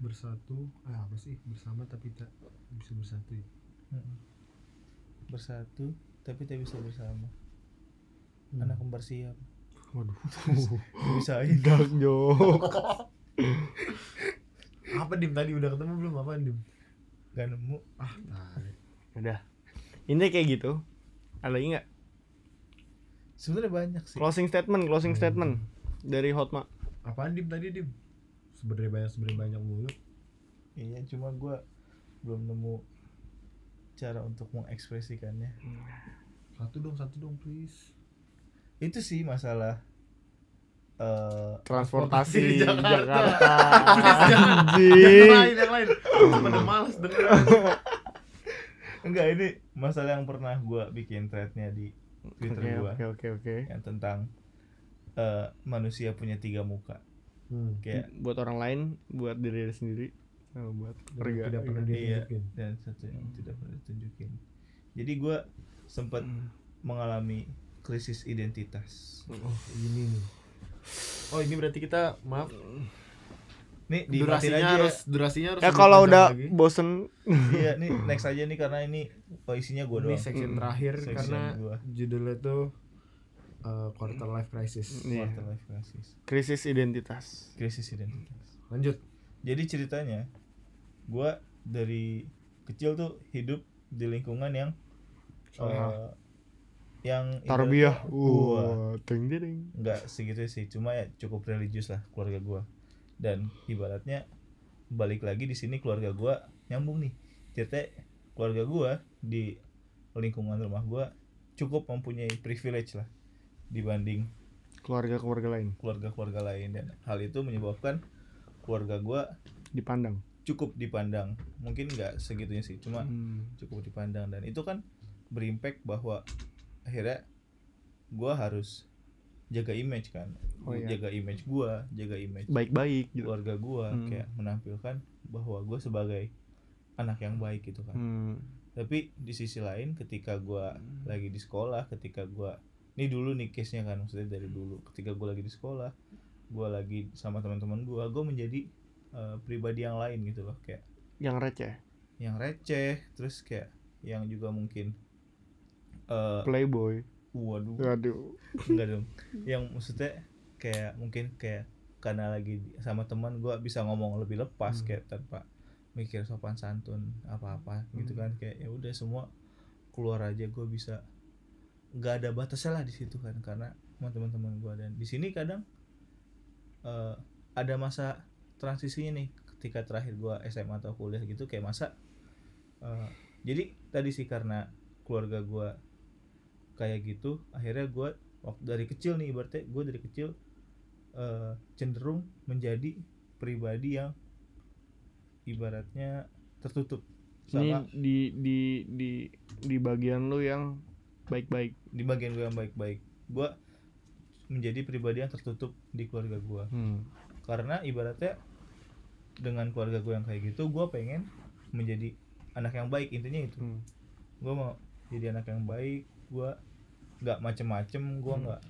Speaker 1: Bersatu Ah apa sih? Bersama tapi tak bisa bersatu ya
Speaker 3: Mhm. bersatu tapi tak bisa bersama
Speaker 2: Hmm.
Speaker 3: anak kembar siap
Speaker 2: waduh
Speaker 3: dibisain
Speaker 2: dark joke
Speaker 1: Apa Dim tadi? Udah ketemu belum? Apa Dim?
Speaker 3: gak nemu
Speaker 1: Ah tarik
Speaker 2: udah ini kayak gitu ada lagi nggak
Speaker 3: sebenarnya banyak sih
Speaker 2: closing statement closing statement dari Hotma
Speaker 1: Apaan Dim tadi Dim? Sebenernya banyak sebenernya banyak mulu
Speaker 3: iya cuma gue belum nemu cara untuk mengekspresikannya
Speaker 1: Satu dong satu dong please
Speaker 3: itu sih masalah eh
Speaker 1: Transportasi
Speaker 2: transportasi Jakarta,
Speaker 1: Jakarta. Yang
Speaker 2: anjing
Speaker 1: lain yang lain Aku pada males denger
Speaker 3: enggak ini masalah yang pernah gua bikin threadnya di Twitter
Speaker 2: oke
Speaker 3: gua
Speaker 2: oke oke oke
Speaker 3: yang tentang eh manusia punya tiga muka
Speaker 1: hmm.
Speaker 3: kayak
Speaker 2: Iya. buat orang lain buat diri dia sendiri sama Oh, buat
Speaker 1: Tidak
Speaker 2: keluarga
Speaker 1: pernah ditunjukin
Speaker 3: iya, dan satu yang tidak pernah ditunjukin jadi gua sempat mengalami krisis identitas
Speaker 1: Oh ini nih Oh ini berarti kita maaf
Speaker 3: nih di
Speaker 1: durasinya harus durasinya harus
Speaker 2: ya
Speaker 1: lebih
Speaker 2: kalau
Speaker 1: panjang
Speaker 2: udah
Speaker 1: lagi.
Speaker 2: bosen
Speaker 3: iya nih next aja nih karena ini oh, isinya gua
Speaker 1: ini
Speaker 3: doang
Speaker 1: section terakhir
Speaker 3: Section
Speaker 1: karena
Speaker 3: gua.
Speaker 1: judulnya tuh uh, quarter life crisis
Speaker 2: Iya.
Speaker 3: quarter life crisis
Speaker 2: krisis identitas
Speaker 3: krisis identitas
Speaker 1: lanjut
Speaker 3: jadi ceritanya gua dari kecil tuh hidup di lingkungan yang eh,
Speaker 1: Soleha.
Speaker 3: yang
Speaker 2: tarbiyah
Speaker 3: Wah.
Speaker 2: wah ting ding
Speaker 3: nggak segitu sih cuma ya cukup religius lah keluarga gua dan ibaratnya balik lagi di sini keluarga gua nyambung nih ceritanya keluarga gua di lingkungan rumah gua cukup mempunyai privilege lah dibanding
Speaker 2: keluarga keluarga lain
Speaker 3: keluarga-keluarga lain dan hal itu menyebabkan keluarga gua
Speaker 2: dipandang
Speaker 3: cukup dipandang mungkin nggak segitunya sih cuma
Speaker 2: Hmm.
Speaker 3: cukup dipandang dan itu kan berimpact bahwa akhirnya gua harus jaga image kan
Speaker 2: Oh, iya.
Speaker 3: jaga image gua jaga image
Speaker 2: baik-baik gitu
Speaker 3: keluarga gua
Speaker 2: Hmm.
Speaker 3: kayak menampilkan bahwa gua sebagai anak yang baik gitu kan
Speaker 2: Hmm.
Speaker 3: tapi di sisi lain ketika gua lagi di sekolah ketika gua ini dulu nih case nya kan maksudnya dari dulu ketika gua lagi di sekolah gua lagi sama teman-teman gua gua menjadi eh, pribadi yang lain gitu loh kayak
Speaker 2: yang receh
Speaker 3: yang receh terus kayak yang juga mungkin eh
Speaker 2: playboy
Speaker 3: waduh
Speaker 2: waduh
Speaker 3: enggak dong yang maksudnya kayak mungkin kayak karena lagi di- sama teman gua bisa ngomong lebih lepas
Speaker 1: Hmm.
Speaker 3: kayak tanpa mikir sopan santun apa apa gitu kan kayak ya udah semua keluar aja gua bisa nggak ada batasnya lah di situ kan karena sama teman-teman gua dan di sini kadang eh, ada masa transisinya nih ketika terakhir gua SMA atau kuliah gitu kayak masa eh, jadi tadi sih karena keluarga gua kayak gitu akhirnya gua waktu dari kecil nih ibaratnya gue dari kecil eh, cenderung menjadi pribadi yang ibaratnya tertutup
Speaker 2: ini
Speaker 3: sama
Speaker 2: di di di di bagian lu yang baik-baik
Speaker 3: di bagian gue yang baik-baik gue menjadi pribadi yang tertutup di keluarga gue
Speaker 2: hmm.
Speaker 3: karena ibaratnya dengan keluarga gue yang kayak gitu gue pengen menjadi anak yang baik intinya itu
Speaker 2: Hmm.
Speaker 3: gue mau jadi anak yang baik gue nggak macem-macem gue nggak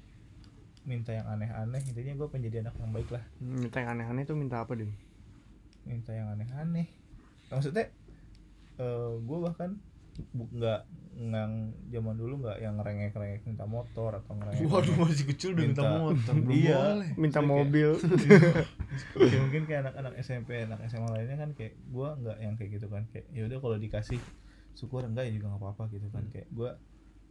Speaker 3: minta yang aneh-aneh intinya gue pengen jadi anak yang baik lah
Speaker 2: minta Hmm, yang aneh-aneh tuh minta apa deh
Speaker 3: minta yang aneh-aneh maksudnya gue bahkan bu- nggak nggak zaman dulu nggak yang ngerengek-rengek minta motor atau ngerengek
Speaker 1: masih kecil
Speaker 3: udah minta
Speaker 1: motor
Speaker 3: iya
Speaker 2: minta
Speaker 3: Oke.
Speaker 2: mobil
Speaker 3: Ya, mungkin kayak anak-anak SMP anak SMA lainnya kan kayak gue nggak yang kayak gitu kan kayak ya udah kalau dikasih syukur enggak ya juga nggak apa-apa gitu kan kayak gue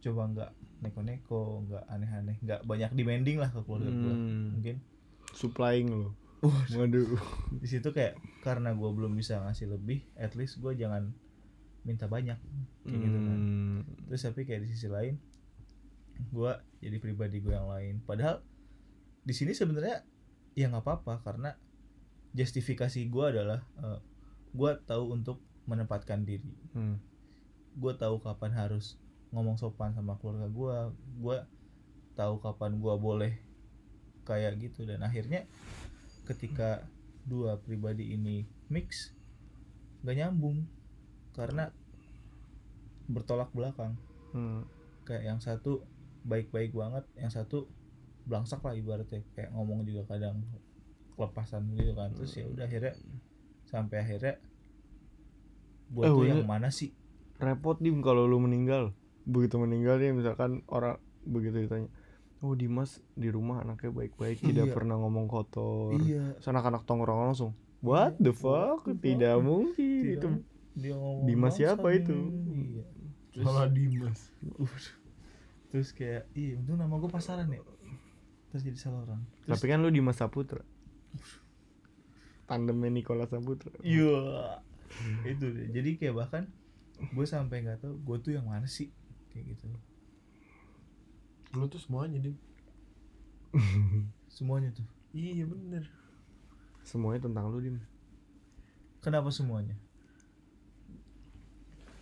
Speaker 3: coba nggak neko-neko nggak aneh-aneh nggak banyak demanding lah ke keluarga gue
Speaker 2: Hmm.
Speaker 3: mungkin
Speaker 2: supplying lo waduh
Speaker 3: di situ kayak karena gue belum bisa ngasih lebih at least gue jangan minta banyak kayak gitu kan
Speaker 2: Hmm.
Speaker 3: terus tapi kayak di sisi lain gue jadi pribadi gue yang lain padahal di sini sebenarnya ya nggak apa-apa karena justifikasi gue adalah gue tahu untuk menempatkan diri
Speaker 2: Hmm.
Speaker 3: gue tahu kapan harus ngomong sopan sama keluarga gue gue tahu kapan gue boleh kayak gitu dan akhirnya ketika dua pribadi ini mix gak nyambung karena bertolak belakang
Speaker 2: Hmm.
Speaker 3: kayak yang satu baik-baik banget yang satu belangsak lah ibaratnya kayak ngomong juga kadang kelepasan gitu kan terus ya udah akhirnya sampai akhirnya gue
Speaker 2: Eh,
Speaker 3: tuh
Speaker 2: bener.
Speaker 3: yang mana sih
Speaker 2: repot dim kalau lu meninggal begitu meninggal ya misalkan orang begitu ditanya oh Dimas di rumah anaknya baik-baik tidak
Speaker 3: Iya.
Speaker 2: pernah ngomong kotor
Speaker 3: iya
Speaker 2: Terus anak-anak tongkrong langsung what the fuck
Speaker 3: What the
Speaker 2: tidak
Speaker 3: fuck?
Speaker 2: mungkin gitu.
Speaker 3: Tidak
Speaker 2: itu
Speaker 3: mungkin. dia ngomong
Speaker 2: Dimas
Speaker 3: bangsa
Speaker 2: siapa
Speaker 3: nih.
Speaker 2: itu?
Speaker 3: iya. Terus-
Speaker 1: Malah Dimas.
Speaker 3: terus kayak iya untung nama gue pasaran ya terus jadi salah orang terus
Speaker 2: tapi kan lu Dimas Saputra tandemnya Nikola Saputra
Speaker 3: iya itu deh. jadi kayak bahkan gue sampai nggak tahu gue tuh yang mana sih kayak gitu
Speaker 1: Lu tuh semuanya Dim.
Speaker 3: semuanya tuh
Speaker 1: Iya bener.
Speaker 2: semuanya tentang lu Dim
Speaker 3: Kenapa semuanya?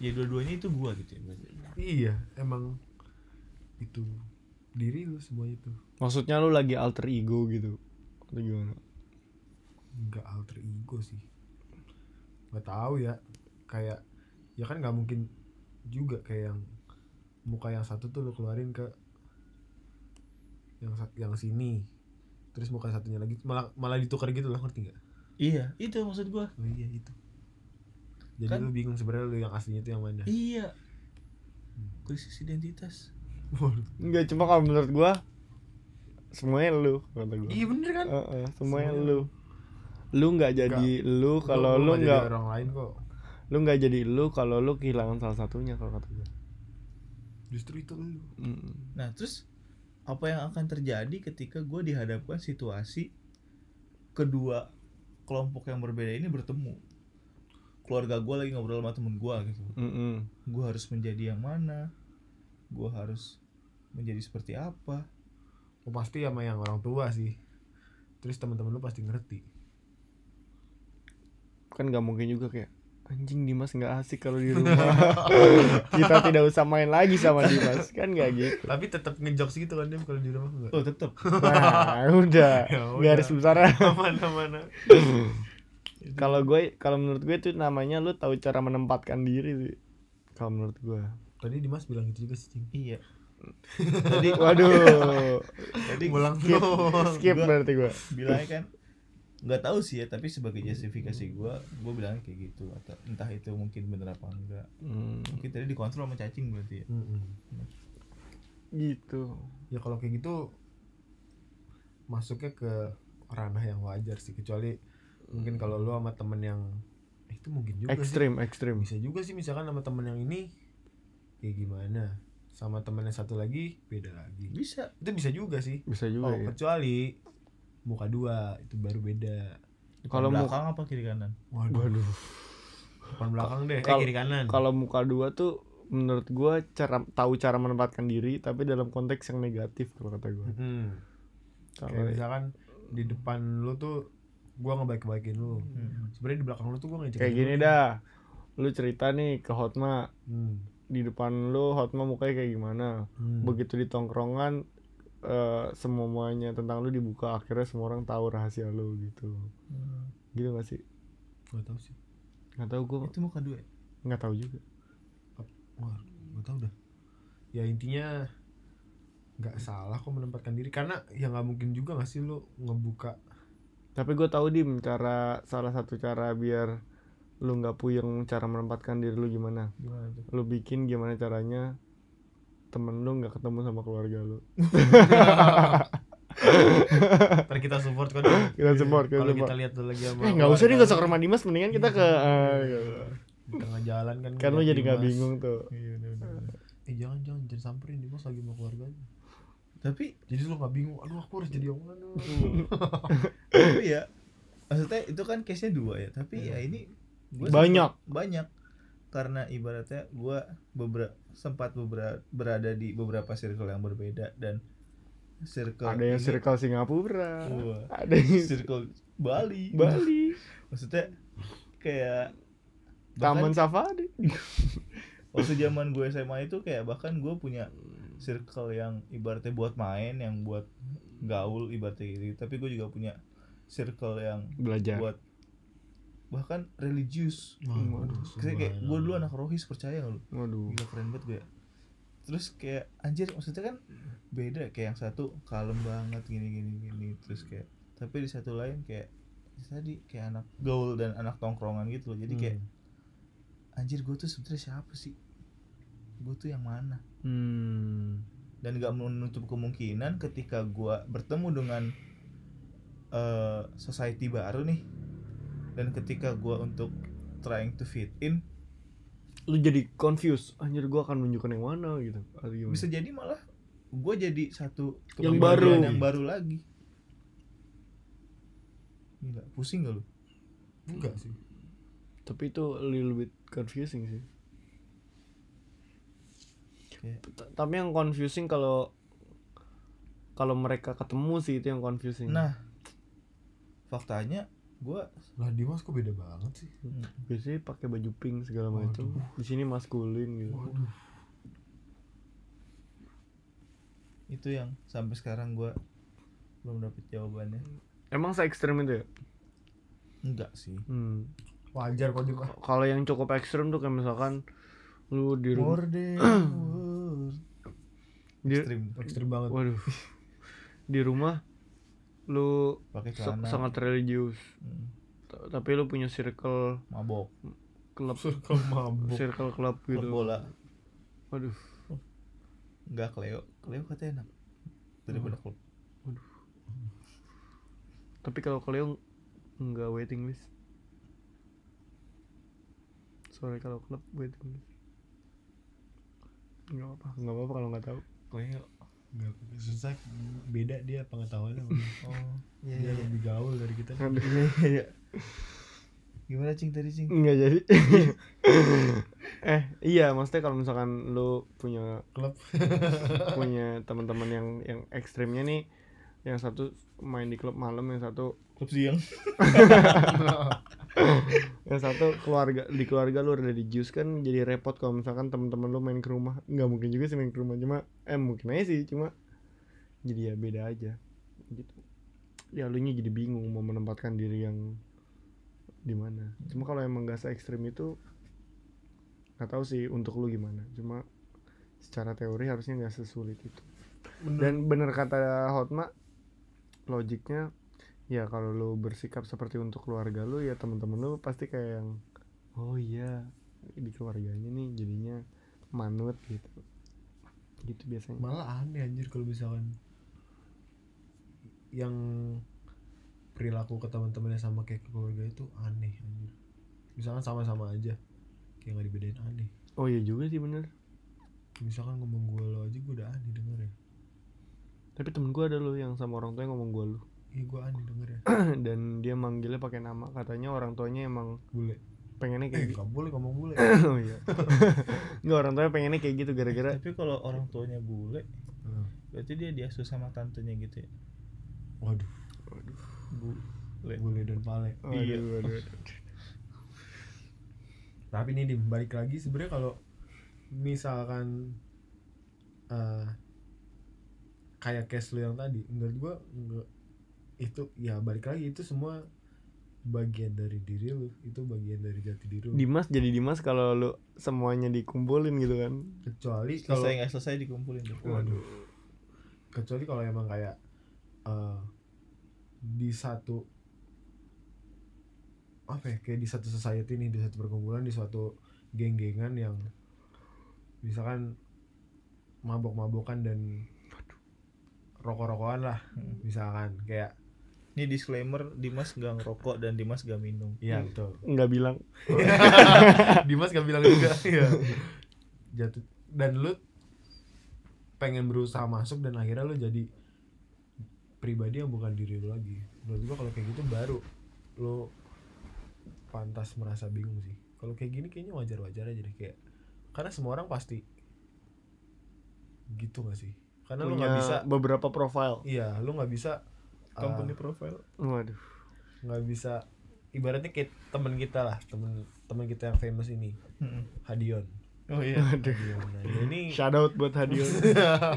Speaker 3: Ya dua-duanya itu gua gitu ya berarti.
Speaker 1: Iya emang itu diri lu semua itu
Speaker 2: maksudnya lu lagi alter ego gitu atau gimana
Speaker 1: nggak alter ego sih. Gak tahu ya kayak ya kan nggak mungkin juga kayak yang muka yang satu tuh lu keluarin ke yang sa- yang sini terus muka satunya lagi malah malah ditukar gitu lah ngerti nggak?
Speaker 3: Iya, itu maksud gua.
Speaker 1: Oh iya itu. Jadi
Speaker 3: Kan-
Speaker 1: lu bingung sebenarnya lu yang aslinya tuh yang mana?
Speaker 3: Iya. Krisis identitas.
Speaker 1: Waduh.
Speaker 2: Enggak cuma kalau menurut gua semuanya lu kata gua
Speaker 1: iya bener kan?
Speaker 2: Heeh,
Speaker 1: Semuanya.
Speaker 2: semuanya lu lu nggak jadi lu
Speaker 1: Gua-
Speaker 2: kalau lu
Speaker 1: gua jadi
Speaker 2: nggak
Speaker 1: orang lain kok.
Speaker 2: lu nggak jadi lu kalau lu kehilangan salah satunya kalau kata gue
Speaker 1: Justru itu lu.
Speaker 3: Nah, terus apa yang akan terjadi ketika gua dihadapkan situasi kedua kelompok yang berbeda ini bertemu? Keluarga gua lagi ngobrol sama temen gua gitu. Gua harus menjadi yang mana? Gua harus menjadi seperti apa?
Speaker 1: Lu pasti sama yang orang tua sih. Terus teman-teman lu pasti ngerti.
Speaker 2: kan nggak mungkin juga kayak anjing Dimas nggak asik kalau di rumah kita tidak usah main lagi sama Dimas kan nggak gitu
Speaker 1: Tapi tetap ngejokes gitu kan dia kalau di rumah enggak.
Speaker 3: Oh, tetap.
Speaker 2: nah udah
Speaker 1: Ya
Speaker 2: garis besarnya
Speaker 1: Mana-mana.
Speaker 2: kalau gue kalau menurut gue itu namanya lu tahu cara menempatkan diri sih kalau menurut gue
Speaker 1: Tadi Dimas bilang gitu juga sih, Cing.
Speaker 3: iya.
Speaker 2: jadi waduh
Speaker 3: Jadi
Speaker 1: Pulang
Speaker 2: skip
Speaker 1: doang.
Speaker 2: skip berarti gue
Speaker 3: bilangnya kan nggak tahu sih ya tapi sebagai justifikasi gue gue bilangnya kayak gitu atau entah itu mungkin bener apa enggak
Speaker 2: Hmm.
Speaker 3: mungkin tadi dikontrol sama cacing berarti ya
Speaker 1: Mm-mm.
Speaker 2: gitu
Speaker 1: Ya kalau kayak gitu masuknya ke ranah yang wajar sih kecuali mungkin kalau lu sama temen yang eh, itu mungkin juga sih.
Speaker 2: ekstrim ekstrim
Speaker 1: bisa juga sih misalkan sama temen yang ini kayak gimana sama temen yang satu lagi beda lagi
Speaker 3: bisa
Speaker 1: itu bisa juga sih
Speaker 2: bisa
Speaker 1: oh
Speaker 2: juga ya
Speaker 1: kecuali muka dua itu baru beda
Speaker 2: Kalau
Speaker 3: kalau
Speaker 2: mau-
Speaker 3: belakang apa kiri kanan
Speaker 1: waduh
Speaker 2: waduh
Speaker 1: depan belakang deh eh,
Speaker 2: Kal-
Speaker 1: kiri kanan
Speaker 2: kalau muka dua tuh menurut gua cara tahu cara menempatkan diri tapi dalam konteks yang negatif kalau kata gua ya.
Speaker 1: Mm-mm.
Speaker 2: Kalau
Speaker 1: kayak misalkan di depan lu tuh gua ngebaik-baikin lu
Speaker 2: Hmm.
Speaker 1: sebenarnya di belakang lu tuh gua ngejek
Speaker 2: Kayak gini dah. Lu cerita nih ke Hotma
Speaker 1: hmm.
Speaker 2: di depan lu Hotma mukanya kayak gimana?
Speaker 1: Hmm.
Speaker 2: Begitu di tongkrongan eh, semuanya tentang lu dibuka akhirnya semua orang tahu rahasia lu gitu. Gitu gak sih?
Speaker 1: Gak tau sih
Speaker 2: Gak tahu gua
Speaker 3: itu muka dua ya?
Speaker 2: nggak tahu juga.
Speaker 1: Wah, gak tau dah Ya intinya nggak salah kok menempatkan diri Karena ya nggak mungkin juga gak sih lu ngebuka
Speaker 2: Tapi gue tahu dim cara salah satu cara biar lu nggak puyeng cara menempatkan diri lu gimana.
Speaker 1: Gimana tuh?
Speaker 2: Lu bikin gimana caranya temen lu nggak ketemu sama keluarga lu.
Speaker 1: Ntar kita support kan
Speaker 2: Kita support, kita
Speaker 1: Kalau
Speaker 2: support.
Speaker 1: kita lihat tuh lagi sama
Speaker 2: Eh nggak usah deh
Speaker 1: keluarga
Speaker 2: nggak usah ke rumah Dimas mendingan kita ke eh, gitu.
Speaker 1: Di tengah jalan kan
Speaker 2: kan lu
Speaker 1: ngeliat
Speaker 2: jadi nggak
Speaker 1: Dimas.
Speaker 2: bingung tuh.
Speaker 3: Iya, bener, bener, bener.
Speaker 1: Eh jangan jangan jangan samperin Dimas lagi sama keluarganya
Speaker 3: tapi
Speaker 1: Jadi lu nggak bingung Aduh aku harus jadi yang mana
Speaker 3: tapi ya maksudnya itu kan case nya dua ya tapi ya ini gua sempet-
Speaker 2: Hmm. Banyak.
Speaker 3: banyak karena ibaratnya gua beberapa sempat bebera- berada di beberapa circle yang berbeda dan circle
Speaker 2: Ada yang
Speaker 3: ini-
Speaker 2: circle Singapura,
Speaker 3: Wah.
Speaker 2: ada yang
Speaker 3: circle Bali
Speaker 2: Bali,
Speaker 3: maksudnya kayak
Speaker 2: Taman
Speaker 3: bahkan
Speaker 2: Safari.
Speaker 3: waktu zaman gue SMA itu kayak bahkan gue punya circle yang ibaratnya buat main yang buat gaul ibaratnya gitu tapi gue juga punya circle yang
Speaker 2: Belajar.
Speaker 3: buat bahkan religius kayak, kayak gue dulu anak rohis percaya gak lu
Speaker 2: Waduh.
Speaker 3: gila keren banget gue terus kayak anjir maksudnya kan beda kayak yang satu kalem banget gini gini gini terus kayak tapi di satu lain kayak ya tadi kayak anak gaul dan anak tongkrongan gitu loh jadi kayak anjir gue tuh sebenarnya siapa sih gue tuh yang mana
Speaker 2: Hmm.
Speaker 3: dan gak menutup kemungkinan ketika gua bertemu dengan eh, society baru nih dan ketika gua untuk trying to fit in
Speaker 2: Lu jadi confused. Anjir gua akan nunjukin yang mana gitu. Atau gimana?
Speaker 3: bisa jadi malah gua jadi satu
Speaker 2: Yang
Speaker 3: kepribadian
Speaker 1: baru.
Speaker 3: yang baru lagi Gila, pusing gak lu?
Speaker 1: Enggak sih
Speaker 2: Tapi itu a little bit confusing sih.
Speaker 3: Kayak-
Speaker 2: T- Tapi yang confusing kalau kalau mereka ketemu sih itu yang confusing.
Speaker 3: Nah, faktanya gua
Speaker 1: Lah Dimas kok beda banget sih
Speaker 2: biasanya pakai baju pink segala macam. Di sini maskulin gitu.
Speaker 1: Waduh
Speaker 3: itu yang sampai sekarang gua belum dapet jawabannya.
Speaker 2: Emang se ekstrem itu ya?
Speaker 3: Enggak sih.
Speaker 2: Hmm.
Speaker 1: Wajar kok Dimas
Speaker 2: Kalau yang cukup ekstrem tuh kayak misalkan lu di rumah
Speaker 3: More than word.
Speaker 2: di,
Speaker 3: Stream
Speaker 1: Ekstrim banget
Speaker 2: waduh di rumah lu
Speaker 3: pakai
Speaker 2: sa-
Speaker 3: celana.
Speaker 2: sangat religius
Speaker 3: Hmm.
Speaker 2: Ta- tapi lu punya circle
Speaker 3: mabok
Speaker 2: klub
Speaker 1: Circle mabuk
Speaker 2: circle klub
Speaker 3: klub
Speaker 2: gitu
Speaker 3: bola
Speaker 2: waduh
Speaker 3: nggak Cleo Cleo katanya enak daripada klub
Speaker 2: tapi kalau kalian nggak waiting list sorry kalau klub waiting list nggak apa nggak apa kalau nggak tahu ya.
Speaker 3: Cleo
Speaker 1: Enggak Susah Beda dia pengetahuannya
Speaker 3: oh iya
Speaker 1: Dia
Speaker 3: iya
Speaker 1: lebih gaul dari kita
Speaker 2: Aduh.
Speaker 3: iya iya, iya. gimana cing tadi cing
Speaker 2: nggak jadi eh iya maksudnya kalau misalkan lu punya
Speaker 1: Klub
Speaker 2: punya teman-teman yang yang ekstrimnya nih yang satu main di klub malam yang satu
Speaker 3: klub siang
Speaker 2: yang satu keluarga di keluarga lu ada di jus kan jadi repot kalau misalkan teman-teman lu main ke rumah nggak mungkin juga sih main ke rumah cuma eh mungkin aja sih cuma jadi ya beda aja gitu ya lu jadi bingung mau menempatkan diri yang di mana cuma kalau emang gak se ekstrim itu nggak tahu sih untuk lu gimana cuma secara teori harusnya nggak sesulit itu dan bener kata Hotma logiknya ya kalau lu bersikap seperti untuk keluarga lu ya temen-temen lu pasti kayak yang oh iya di keluarganya nih jadinya manut gitu gitu biasanya
Speaker 1: malah aneh anjir kalau misalkan yang perilaku ke teman-temannya sama kayak ke keluarga itu aneh anjir misalkan sama-sama aja kayak nggak dibedain aneh
Speaker 2: oh iya juga sih bener
Speaker 1: misalkan ngomong gue lo aja gue udah aneh denger ya
Speaker 2: tapi temen gua ada lu yang sama orang tuanya ngomong gua lu
Speaker 1: iya gue aneh denger ya
Speaker 2: dan dia manggilnya pakai nama katanya orang tuanya emang
Speaker 1: bule eh
Speaker 2: pengennya kayak gitu
Speaker 1: gak boleh ngomong bule
Speaker 2: oh iya nggak orang tuanya pengennya kayak gitu gara-gara
Speaker 3: tapi kalau orang tuanya bule
Speaker 1: Hmm.
Speaker 3: berarti dia diasuh sama tantenya gitu ya
Speaker 1: waduh
Speaker 2: Le.
Speaker 1: bule dan pale
Speaker 2: Iya.
Speaker 1: tapi ini dibalik lagi sebenarnya kalau misalkan eh kayak case lu yang tadi menurut gua nggak- itu ya balik lagi itu semua bagian dari diri lu itu bagian dari jati diri lu
Speaker 2: Dimas jadi Dimas kalau lu semuanya dikumpulin gitu kan.
Speaker 1: kecuali kalau
Speaker 3: selesai nggak selesai dikumpulin tuh
Speaker 1: waduh kecuali kalau emang kayak eh di satu apa ya kayak di satu society nih di satu perkumpulan di suatu geng-gengan yang misalkan mabok-mabokan dan rokok-rokokan lah
Speaker 3: Hmm.
Speaker 1: misalkan kayak
Speaker 3: ini disclaimer Dimas gak ngerokok dan Dimas gak minum
Speaker 1: iya betul
Speaker 2: Nggak bilang.
Speaker 1: gitu. Dimas gak bilang juga Iya. jatuh dan lu pengen berusaha masuk dan akhirnya lu jadi pribadi yang bukan diri lu lagi menurut gua kalau kayak gitu baru lu pantas merasa bingung sih kalau kayak gini kayaknya wajar-wajar aja deh kayak karena semua orang pasti gitu gak sih karena lu
Speaker 2: punya
Speaker 1: nggak bisa
Speaker 2: beberapa profile.
Speaker 1: iya lu nggak bisa uh,
Speaker 2: Ah.
Speaker 3: company profile
Speaker 2: Waduh.
Speaker 1: nggak bisa ibaratnya kayak temen kita lah temen temen kita yang famous ini
Speaker 3: Mm-mm.
Speaker 1: Hadion
Speaker 3: oh iya
Speaker 2: Aduh.
Speaker 1: Nah, dia ini
Speaker 2: Shout out buat Hadion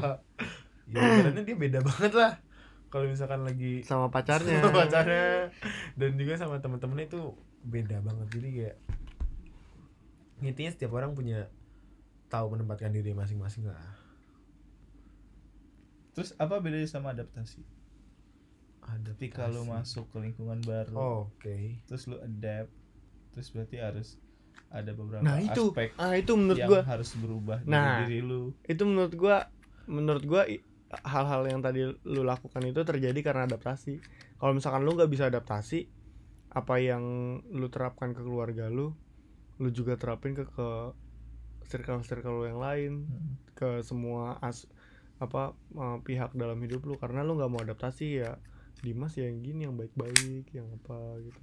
Speaker 1: ya ibaratnya dia beda banget lah kalau misalkan lagi
Speaker 2: sama pacarnya.
Speaker 1: sama pacarnya dan juga sama teman-temannya itu beda banget jadi kayak intinya setiap orang punya tahu menempatkan diri masing-masing lah
Speaker 3: terus apa bedanya sama adaptasi
Speaker 1: ada
Speaker 3: ketika lu masuk ke lingkungan baru
Speaker 2: Oh.
Speaker 1: oke
Speaker 3: terus lu adapt terus berarti harus ada beberapa
Speaker 2: Nah, itu.
Speaker 3: aspek
Speaker 2: Ah itu menurut
Speaker 3: yang
Speaker 2: gua.
Speaker 3: harus berubah
Speaker 2: Nah.
Speaker 3: dari diri lu
Speaker 2: Itu menurut gua menurut gua i- hal-hal yang tadi lu lakukan itu terjadi karena adaptasi. Kalau misalkan lu nggak bisa adaptasi, apa yang lu terapkan ke keluarga lu, lu juga terapin ke ke circle-circle lu yang lain.
Speaker 3: Mm.
Speaker 2: ke semua as apa eh, pihak dalam hidup lu karena lu nggak mau adaptasi ya Dimas ya yang gini yang baik-baik yang apa gitu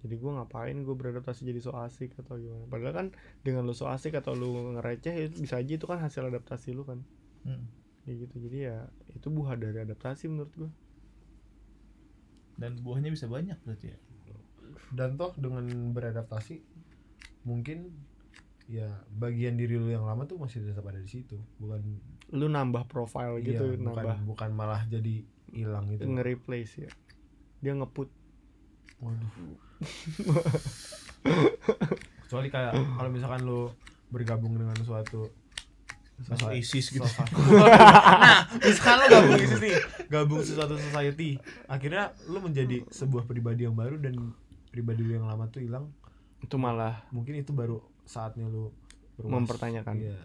Speaker 2: jadi gua ngapain gue beradaptasi jadi so asik atau gimana padahal kan dengan lu so asik atau lu ngereceh itu bisa aja itu kan hasil adaptasi lu kan
Speaker 3: Mm.
Speaker 2: kayak gitu jadi ya itu buah dari adaptasi menurut gua
Speaker 3: dan buahnya bisa banyak berarti ya
Speaker 1: dan toh dengan beradaptasi mungkin ya bagian diri lu yang lama tuh masih tetap ada di situ bukan
Speaker 2: lu nambah profile
Speaker 1: iya,
Speaker 2: gitu
Speaker 1: bukan
Speaker 2: nambah
Speaker 1: bukan malah jadi hilang gitu
Speaker 2: nge-replace ya dia ngeput
Speaker 1: Waduh. Kecuali kayak kalau misalkan lo bergabung dengan suatu
Speaker 3: Masuk ISIS gitu.
Speaker 1: nah, misalkan lo gabung ISIS nih, gabung sesuatu society, akhirnya lo menjadi sebuah pribadi yang baru dan pribadi lo yang lama tuh hilang.
Speaker 2: itu malah
Speaker 1: Mungkin itu baru saatnya lo berwas-
Speaker 2: Mempertanyakan.
Speaker 1: Iya.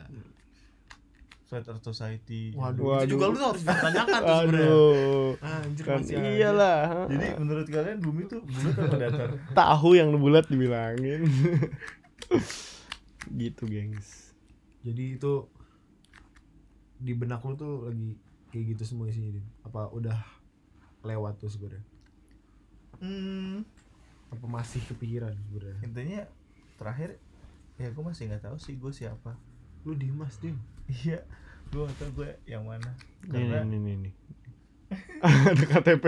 Speaker 3: flat earth society
Speaker 1: Waduh,
Speaker 2: Waduh.
Speaker 1: itu juga lo harus dipertanyakan tuh sebenarnya. Ah,
Speaker 2: aduh
Speaker 1: Anjir,
Speaker 2: kan
Speaker 1: masih aja.
Speaker 2: iyalah
Speaker 3: jadi menurut kalian bumi tuh bulat atau datar
Speaker 2: tahu yang bulat dibilangin gitu gengs
Speaker 1: Jadi itu di benak lu tuh lagi kayak gitu semua isinya Din. Apa udah lewat tuh sebenarnya?
Speaker 3: Hmm,
Speaker 1: Apa masih kepikiran sebenarnya?
Speaker 3: intinya terakhir ya gue masih nggak tahu sih gue siapa
Speaker 1: Lu Dimas, Dim.
Speaker 3: iya gue nggak tahu gue yang mana
Speaker 2: ini
Speaker 3: karena
Speaker 2: ini ini, ini. ada KTP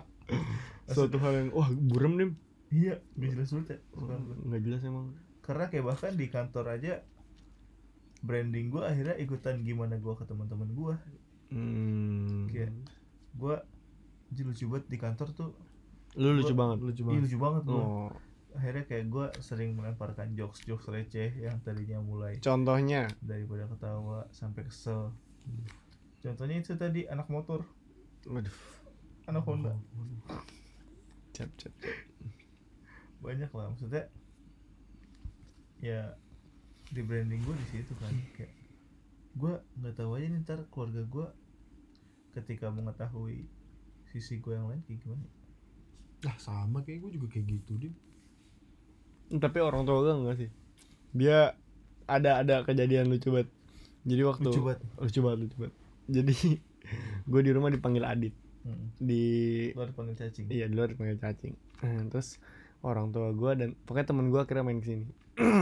Speaker 2: suatu hal yang wah burem nih
Speaker 3: iya gak jelas banget ya suka gua.
Speaker 2: nggak jelas emang
Speaker 3: karena kayak bahkan di kantor aja branding gue akhirnya ikutan gimana gue ke teman-teman gue
Speaker 2: hmm.
Speaker 3: Kayak- gue lucu banget di kantor tuh
Speaker 2: lu lucu
Speaker 3: Gua-
Speaker 2: banget
Speaker 1: Lucu
Speaker 3: ih,
Speaker 1: banget.
Speaker 3: lucu banget gue
Speaker 2: oh
Speaker 3: akhirnya kayak gue sering melemparkan jokes jokes receh yang tadinya mulai
Speaker 2: contohnya
Speaker 3: daripada ketawa sampai kesel contohnya itu tadi anak motor
Speaker 2: waduh
Speaker 3: anak Honda
Speaker 2: cap cap
Speaker 3: banyak lah maksudnya ya di branding gue di situ kan
Speaker 2: Iya.
Speaker 3: kayak gue nggak tahu aja nih ntar keluarga gue ketika mengetahui sisi gue yang lain kayak gimana
Speaker 1: Lah sama kayak gue juga kayak gitu, Dim.
Speaker 2: tapi orang tua gue enggak sih dia ada ada kejadian lucu banget jadi waktu
Speaker 3: lucu banget
Speaker 2: lucu banget lucu banget jadi gue di rumah dipanggil Adit
Speaker 3: Mm.
Speaker 2: di
Speaker 3: luar panggil cacing
Speaker 2: Iya di luar dipanggil cacing. Hmm, Terus orang tua gue dan pokoknya temen gue akhirnya main kesini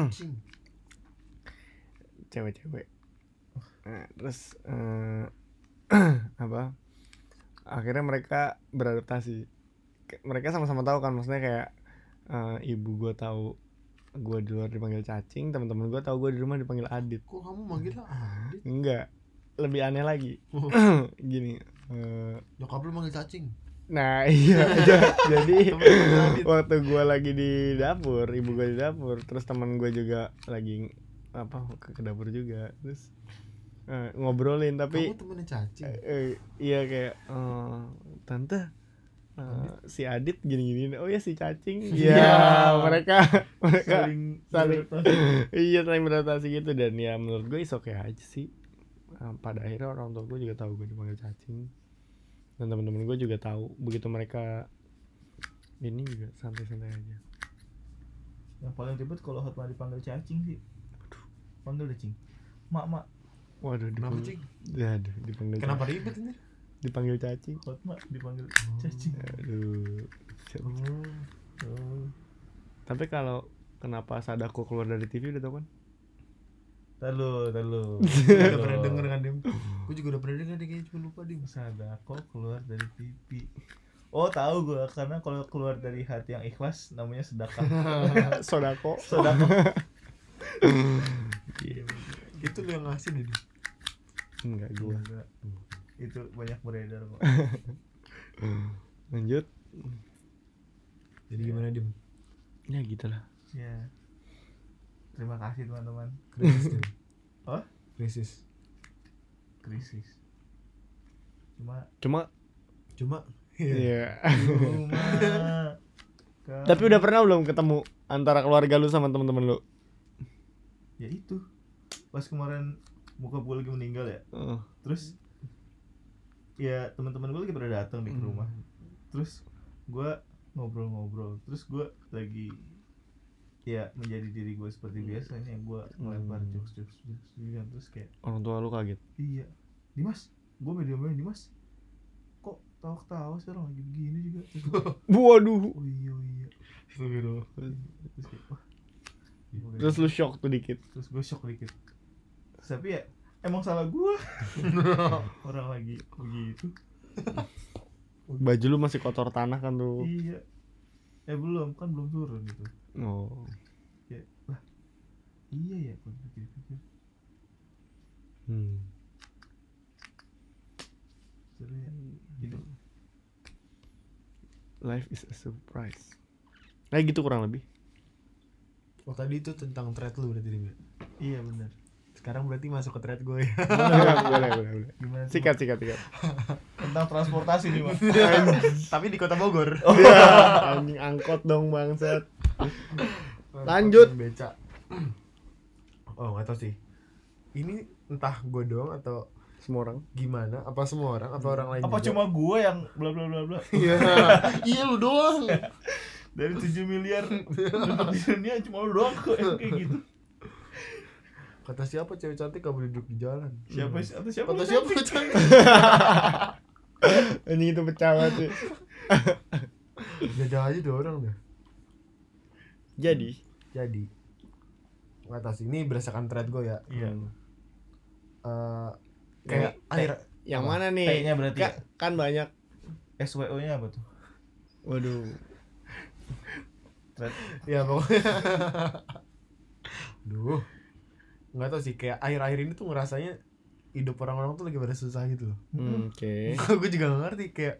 Speaker 1: Cing.
Speaker 2: cewek-cewek. Nah, terus eh, apa? Akhirnya mereka beradaptasi kayak mereka sama-sama tahu kan maksudnya kayak eh, ibu gue tahu gue di luar dipanggil cacing teman-teman gue tahu gue di rumah dipanggil adit
Speaker 1: Kok kamu manggil Adit?
Speaker 2: enggak lebih aneh lagi gini eh,
Speaker 1: Nyokap lu manggil cacing.
Speaker 2: nah iya ja- jadi
Speaker 1: Temen-temen Adit.
Speaker 2: waktu gue lagi di dapur ibu gue di dapur terus teman gue juga lagi apa ke, ke dapur juga terus eh, ngobrolin tapi
Speaker 1: Kamu temennya cacing.
Speaker 2: Eh, eh, iya kayak eh, tante eh, si Adit gini-gini oh ya si cacing iya
Speaker 3: Ya.
Speaker 2: mereka mereka
Speaker 3: saling
Speaker 2: saling iya saling beradaptasi gitu dan ya menurut gue is okay aja sih Eh, pada akhirnya orang tua gue juga tahu gue dipanggil cacing dan teman-teman gue juga tahu begitu mereka ini juga santai-santai aja
Speaker 3: yang paling ribet kalau hotma dipanggil cacing sih panggil deh cing mak mak
Speaker 2: waduh
Speaker 1: Kenapa
Speaker 2: dipanggil,
Speaker 1: cing?
Speaker 2: Aduh, dipanggil
Speaker 1: Kenapa ribet ini?
Speaker 2: dipanggil cacing
Speaker 3: hotma dipanggil
Speaker 2: Oh.
Speaker 3: cacing
Speaker 2: aduh
Speaker 1: Hmm.
Speaker 3: Oh.
Speaker 2: tapi kalau kenapa sadaku keluar dari TV udah tau kan
Speaker 3: Ntar lu, ntar
Speaker 1: Gua
Speaker 3: lu.
Speaker 1: udah pernah denger kan Dim? Gue juga udah pernah denger deh kayaknya cuma lupa Dim.
Speaker 3: Sadako keluar dari TV. Oh tahu gua karena kalau keluar dari hati yang ikhlas namanya sedekah.
Speaker 2: sodako
Speaker 3: Sedekah.
Speaker 1: Itu lu yang ngasih Dim.
Speaker 2: Iya, enggak gua
Speaker 3: Gila. Itu banyak beredar kok.
Speaker 2: lanjut
Speaker 1: Jadi gimana Dim?
Speaker 2: ya gitulah
Speaker 3: Ya. Terima kasih teman-teman.
Speaker 1: Krisis Dim.
Speaker 3: Hah?
Speaker 1: Krisis.
Speaker 3: Krisis. Cuma
Speaker 2: cuma
Speaker 1: Cuma
Speaker 2: ya
Speaker 3: cuma ke-
Speaker 2: tapi udah pernah belum ketemu antara keluarga lu sama teman-teman lu
Speaker 3: ya itu. Pas kemarin muka gua lagi meninggal ya.
Speaker 2: Heeh.
Speaker 3: terus ya teman-teman gue lagi pada datang
Speaker 2: Hmm.
Speaker 3: nih ke rumah terus gue ngobrol-ngobrol terus gue lagi ya menjadi diri gue seperti biasanya gue ngelempar
Speaker 2: Hmm.
Speaker 3: jokes jokes jokes gitu. terus kayak
Speaker 2: orang tua lu kaget
Speaker 3: iya Dimas gue media main Dimas kok tahu tahu sekarang lagi begini juga terus gua,
Speaker 2: waduh
Speaker 3: oh iya oh iya
Speaker 1: Astagfirullah.
Speaker 3: terus kayak wah Gua
Speaker 2: terus lu shock tuh dikit
Speaker 3: terus gue shock dikit Terus tapi ya emang salah gue orang lagi begitu
Speaker 2: baju lu masih kotor tanah kan tuh
Speaker 3: Iya. Eh belum, kan belum turun itu.
Speaker 2: oh
Speaker 3: Kayak, lah. Iya ya, kalau pikir-pikir.
Speaker 2: hmm.
Speaker 3: Seru ya. Gitu.
Speaker 2: life is a surprise nah gitu kurang lebih
Speaker 1: Oh tadi itu tentang thread lu berarti Dim. ya?
Speaker 3: Iya benar.
Speaker 1: Sekarang berarti masuk ke thread gue ya.
Speaker 2: boleh boleh boleh
Speaker 3: Gimana tuh?
Speaker 2: sikat sikat sikat
Speaker 3: tentang transportasi nih, Oh, Mas?
Speaker 1: Tapi di Kota Bogor.
Speaker 2: Iya. anjing angkot dong bangsat Lanjut.
Speaker 1: Nah, Beca. Oh nggak tahu sih. Ini entah gue doang atau
Speaker 2: semua orang
Speaker 1: gimana? Apa semua orang? Apa orang lain?
Speaker 3: Apa
Speaker 1: juga?
Speaker 3: cuma gue yang bla bla bla bla.
Speaker 1: Iya. iya lu doang.
Speaker 3: Dari 7 miliar penduduk di dunia cuma lu doang kok yang kayak gitu.
Speaker 1: Kata siapa cewek cantik kamu duduk di jalan? Hmm.
Speaker 3: Siapa sih? Atau siapa?
Speaker 1: Kata
Speaker 3: lu
Speaker 1: siapa
Speaker 3: cantik?
Speaker 1: cewek cantik?
Speaker 2: anjing itu pecah banget sih.
Speaker 1: Jajah aja dua orang dah.
Speaker 2: jadi
Speaker 1: Jadi nggak tahu sih. Ini berdasarkan thread gue ya.
Speaker 3: Iya.
Speaker 2: hmm,
Speaker 1: Eh, kayak akhir
Speaker 2: yang
Speaker 1: Apa?
Speaker 2: mana nih
Speaker 3: T-nya berarti
Speaker 2: Ka- kan banyak
Speaker 3: SWO-nya apa tuh?
Speaker 2: waduh
Speaker 3: Thread.
Speaker 1: ya pokoknya duh nggak tahu sih kayak akhir-akhir ini tuh ngerasanya hidup orang-orang tuh lagi pada susah gitu loh
Speaker 2: Hmm, oke
Speaker 1: gue juga gak ngerti kayak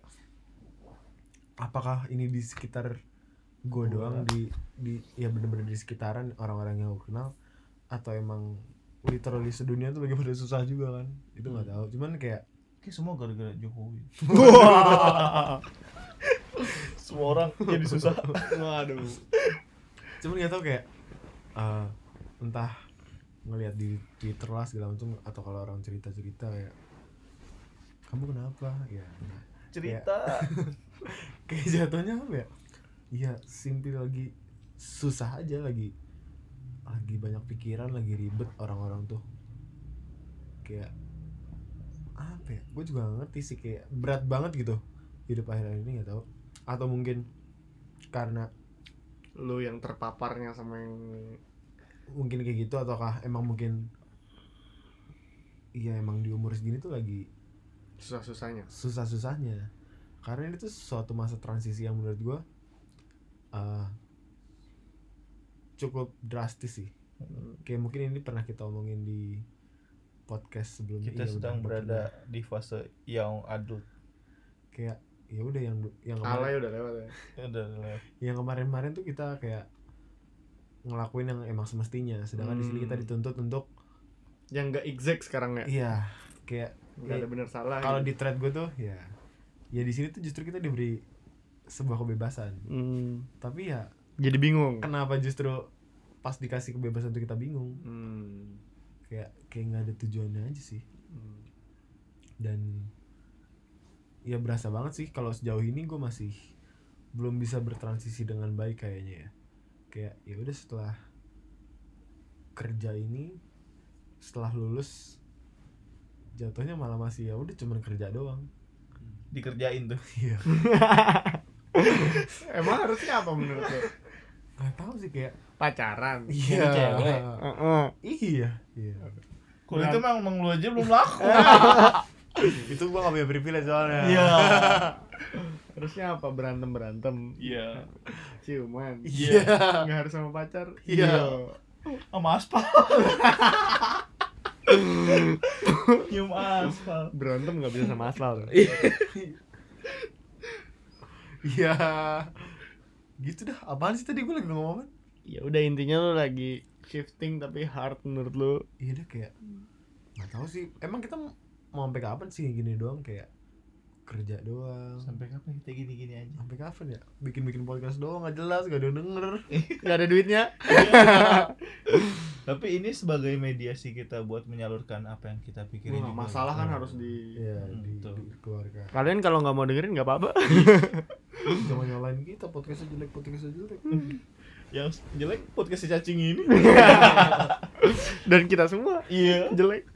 Speaker 1: apakah ini di sekitar gue doang di di ya bener-bener di sekitaran orang-orang yang gue kenal atau emang literally sedunia tuh lagi pada susah juga kan itu nggak tahu cuman kayak
Speaker 3: Kayak semua gara-gara Jokowi. semua orang jadi susah.
Speaker 2: waduh
Speaker 1: cuman nggak tahu kayak eh, entah ngelihat di Twitter lah segala macam atau kalau orang cerita cerita ya kamu kenapa ya nah,
Speaker 3: Cerita.
Speaker 1: kayak jatuhnya apa ya iya simpel lagi susah aja lagi lagi banyak pikiran lagi ribet orang-orang tuh kayak apa ya gue juga gak ngerti sih kayak berat banget gitu hidup akhir-akhir ini nggak tahu atau mungkin karena
Speaker 2: lu yang terpaparnya sama yang
Speaker 1: mungkin kayak gitu ataukah emang mungkin iya emang di umur segini tuh lagi
Speaker 2: susah-susahnya
Speaker 1: susah-susahnya karena ini tuh suatu masa transisi yang menurut gue eh cukup drastis sih kayak mungkin ini pernah kita omongin di podcast sebelumnya
Speaker 3: kita
Speaker 1: Iya,
Speaker 3: sedang
Speaker 1: udah,
Speaker 3: berada
Speaker 1: mungkin
Speaker 3: di fase yang adult
Speaker 1: ya. kayak ya udah yang yang kemarin
Speaker 2: alay udah lewat ya
Speaker 3: udah lewat.
Speaker 1: yang kemarin-kemarin tuh kita kayak ngelakuin yang emang semestinya sedangkan di sini
Speaker 2: Hmm.
Speaker 1: kita dituntut untuk
Speaker 2: yang nggak exact sekarang ya
Speaker 1: iya kayak
Speaker 2: nggak ada bener salah
Speaker 1: Iya. kalau
Speaker 2: gitu.
Speaker 1: di thread gue tuh ya ya di sini tuh justru kita diberi sebuah kebebasan
Speaker 2: Hmm,
Speaker 1: tapi ya
Speaker 2: jadi bingung
Speaker 1: kenapa justru pas dikasih kebebasan tuh kita bingung
Speaker 2: Hmm.
Speaker 1: kayak kayak nggak ada tujuannya aja sih
Speaker 2: Hmm.
Speaker 1: dan ya berasa banget sih kalau sejauh ini gue masih belum bisa bertransisi dengan baik kayaknya ya kayak ya udah setelah kerja ini setelah lulus jatuhnya malah masih ya udah cuman kerja doang
Speaker 3: dikerjain tuh
Speaker 1: iya
Speaker 2: emang harusnya apa menurut lo
Speaker 1: nggak tahu sih kayak
Speaker 2: pacaran
Speaker 1: iya
Speaker 4: cewek.
Speaker 2: Heeh.
Speaker 1: iya iya
Speaker 3: kuliah itu emang emang lu aja belum laku
Speaker 1: Eh. itu gua gak punya privilege soalnya
Speaker 2: harusnya apa berantem berantem
Speaker 3: iya
Speaker 2: ciuman
Speaker 1: iya
Speaker 2: nggak harus sama pacar
Speaker 1: Iya.
Speaker 3: sama aspal nyium aspal
Speaker 2: berantem nggak bisa sama asal
Speaker 1: iya gitu dah apaan sih tadi gua lagi ngomong apa
Speaker 2: ya udah intinya lo lagi shifting tapi hard menurut lo
Speaker 1: iya deh kayak nggak tahu sih emang kita mau sampai kapan sih gini doang kayak kerja doang
Speaker 3: sampai kapan kita gini-gini aja
Speaker 1: sampai kapan ya bikin bikin podcast doang nggak jelas gak ada yang denger
Speaker 2: nggak ada duitnya
Speaker 3: tapi ini sebagai mediasi kita buat menyalurkan apa yang kita pikirin
Speaker 2: Wah,
Speaker 3: juga.
Speaker 2: masalah kan harus di
Speaker 1: ya
Speaker 3: Hmm,
Speaker 1: di,
Speaker 3: betul.
Speaker 1: di keluarga
Speaker 2: kalian kalau nggak mau dengerin nggak apa-apa
Speaker 1: jangan nyalain kita podcastnya jelek podcastnya jelek
Speaker 3: yang jelek podcast si cacing ini
Speaker 2: dan kita semua
Speaker 3: iya
Speaker 2: jelek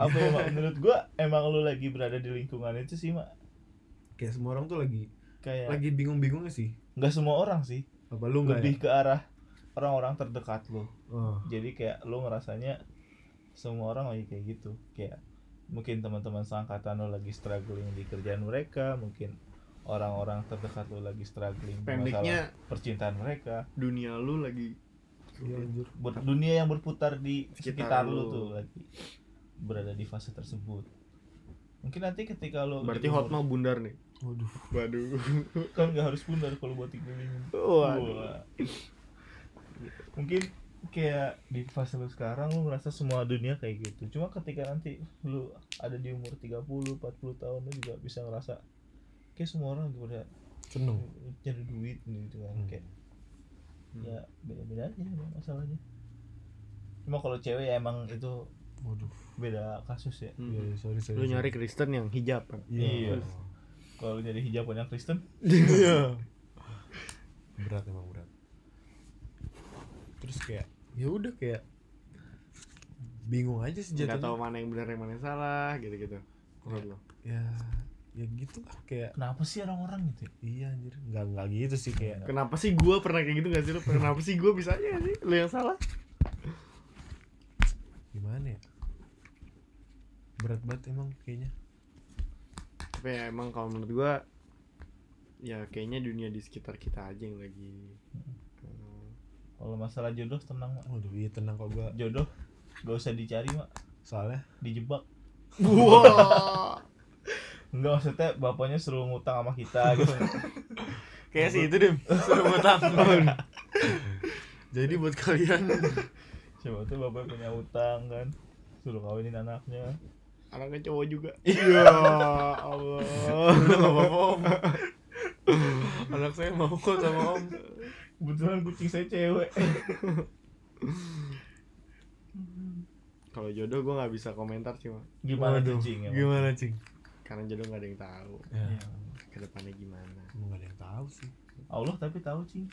Speaker 3: apa ya Mak? menurut gua emang lu lagi berada di lingkungan itu sih mak
Speaker 1: kayak semua orang tuh lagi
Speaker 3: kayak
Speaker 1: lagi bingung bingungnya sih
Speaker 3: nggak semua orang sih
Speaker 1: apa lu nggak ya?
Speaker 3: lebih ke arah orang-orang terdekat lu
Speaker 1: Oh.
Speaker 3: jadi kayak lu ngerasanya semua orang lagi kayak gitu kayak mungkin teman-teman seangkatan lu lagi struggling di kerjaan mereka mungkin orang-orang terdekat lu lagi struggling di masalah
Speaker 2: pendeknya
Speaker 3: percintaan mereka
Speaker 2: dunia lu lagi
Speaker 1: Iya, anjir.
Speaker 3: Ber- dunia yang berputar di
Speaker 2: Sekitar
Speaker 3: sekitar,
Speaker 2: lu.
Speaker 3: lu tuh lagi berada di fase tersebut mungkin nanti ketika lu
Speaker 2: berarti
Speaker 3: di-
Speaker 2: hot mah bundar nih
Speaker 1: Waduh.
Speaker 2: waduh
Speaker 3: kan nggak harus bundar kalau buat dikelilingi
Speaker 2: waduh Iya,
Speaker 3: Wah. Mungkin kayak di fase lu sekarang lu merasa semua dunia kayak gitu. Cuma ketika nanti lu ada di umur 30, 40 tahun lu juga bisa ngerasa kayak semua orang gitu udah
Speaker 1: Seneng.
Speaker 3: cari duit gitu kan
Speaker 1: Hmm.
Speaker 3: kayak ya beda-beda aja emang masalahnya. Cuma kalau cewek ya emang itu
Speaker 1: Waduh.
Speaker 3: beda kasus ya.
Speaker 1: Iya, iya, sorry, sorry.
Speaker 2: lu
Speaker 1: sorry.
Speaker 2: nyari Kristen yang hijab kan?
Speaker 1: Iya.
Speaker 3: Iya. Kalau lu jadi hijaban yang Kristen,
Speaker 1: Iya. berat emang berat. Terus kayak ya udah kayak bingung aja sih
Speaker 2: nggak
Speaker 1: jatuhnya.
Speaker 2: tahu mana yang benar yang mana yang salah gitu gitu menurut lo
Speaker 1: Ya ya gitu lah kayak
Speaker 3: kenapa sih orang-orang gitu? ya?
Speaker 1: iya anjir nggak nggak gitu sih kayak
Speaker 2: kenapa sih gua pernah kayak gitu nggak sih lo kenapa sih gua bisa aja nggak sih lo yang salah
Speaker 1: gimana ya berat banget emang kayaknya
Speaker 2: tapi ya emang kalau menurut gua ya kayaknya dunia di sekitar kita aja yang lagi eh,
Speaker 3: Kalau masalah jodoh tenang, Mak.
Speaker 1: waduh iya tenang kok gua
Speaker 3: Jodoh gak usah dicari, Mak.
Speaker 1: soalnya
Speaker 3: Dijebak.
Speaker 2: Wah,
Speaker 3: Enggak maksudnya bapaknya suruh ngutang sama kita gitu.
Speaker 2: kayak sih itu deh. Suruh ngutang.
Speaker 1: jadi buat kalian
Speaker 3: Siapa tuh bapaknya punya utang kan. Suruh kawinin anaknya.
Speaker 2: Anaknya cowok juga. Iya, Allah.
Speaker 1: anak saya mau kok sama om
Speaker 3: Kebetulan kucing saya cewek.
Speaker 2: Kalau jodoh gue nggak bisa komentar sih, Mak.
Speaker 3: Gimana
Speaker 1: Waduh,
Speaker 3: tuh cing? emang?
Speaker 1: gimana cing
Speaker 2: Karena jodoh nggak ada yang tahu
Speaker 1: ya,
Speaker 3: Iya.
Speaker 2: kedepannya gimana.
Speaker 1: emang nggak ada yang tahu sih
Speaker 3: Allah tapi tahu cing.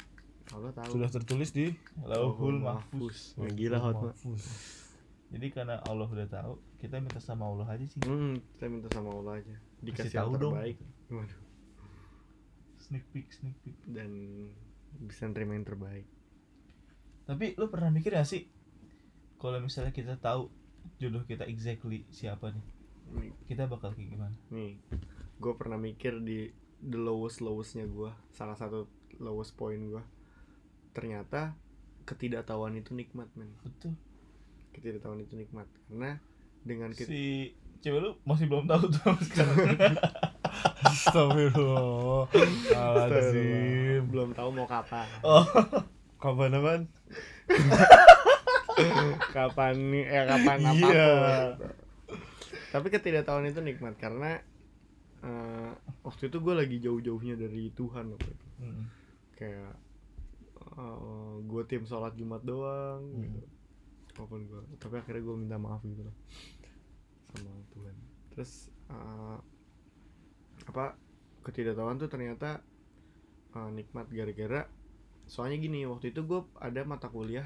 Speaker 2: Allah tahu.
Speaker 1: sudah tertulis di
Speaker 2: Oh,
Speaker 3: Lauhul mahfuz.
Speaker 2: Wah, gila hot, Mak.
Speaker 1: Mahfuz.
Speaker 3: Jadi karena Allah udah tahu, kita minta sama Allah aja cing.
Speaker 2: Hmm, kita minta sama Allah aja. Dikasih
Speaker 3: Kasih tahu
Speaker 2: yang
Speaker 3: dong.
Speaker 2: terbaik. Waduh.
Speaker 3: Sneak peek, sneak peek.
Speaker 2: Dan bisa nerima yang terbaik.
Speaker 3: Tapi lu pernah mikir gak sih kalau misalnya kita tahu jodoh kita exactly siapa nih?
Speaker 2: nih,
Speaker 3: kita bakal kayak gimana
Speaker 2: nih gue pernah mikir di the lowest lowestnya gue salah satu lowest point gue ternyata ketidaktahuan itu nikmat men
Speaker 3: betul
Speaker 2: ketidaktahuan itu nikmat karena dengan kita
Speaker 3: si cewek lu masih belum tahu tuh sampai sekarang
Speaker 1: Astagfirullah. Astagfirullah.
Speaker 2: belum tahu mau kapan
Speaker 3: oh
Speaker 1: Kapan apaan?
Speaker 2: kapan nih eh kapan apa
Speaker 1: Iya.
Speaker 2: tapi ketidaktahuan itu nikmat karena eh, waktu itu gue lagi jauh-jauhnya dari Tuhan waktu itu
Speaker 3: Mm.
Speaker 2: kayak gue tim sholat jumat doang
Speaker 3: Hmm.
Speaker 2: gitu walaupun gue tapi akhirnya gue minta maaf gitu loh sama Tuhan terus eh, apa ketidaktahuan tuh ternyata eh, nikmat gara-gara soalnya gini waktu itu gue ada mata kuliah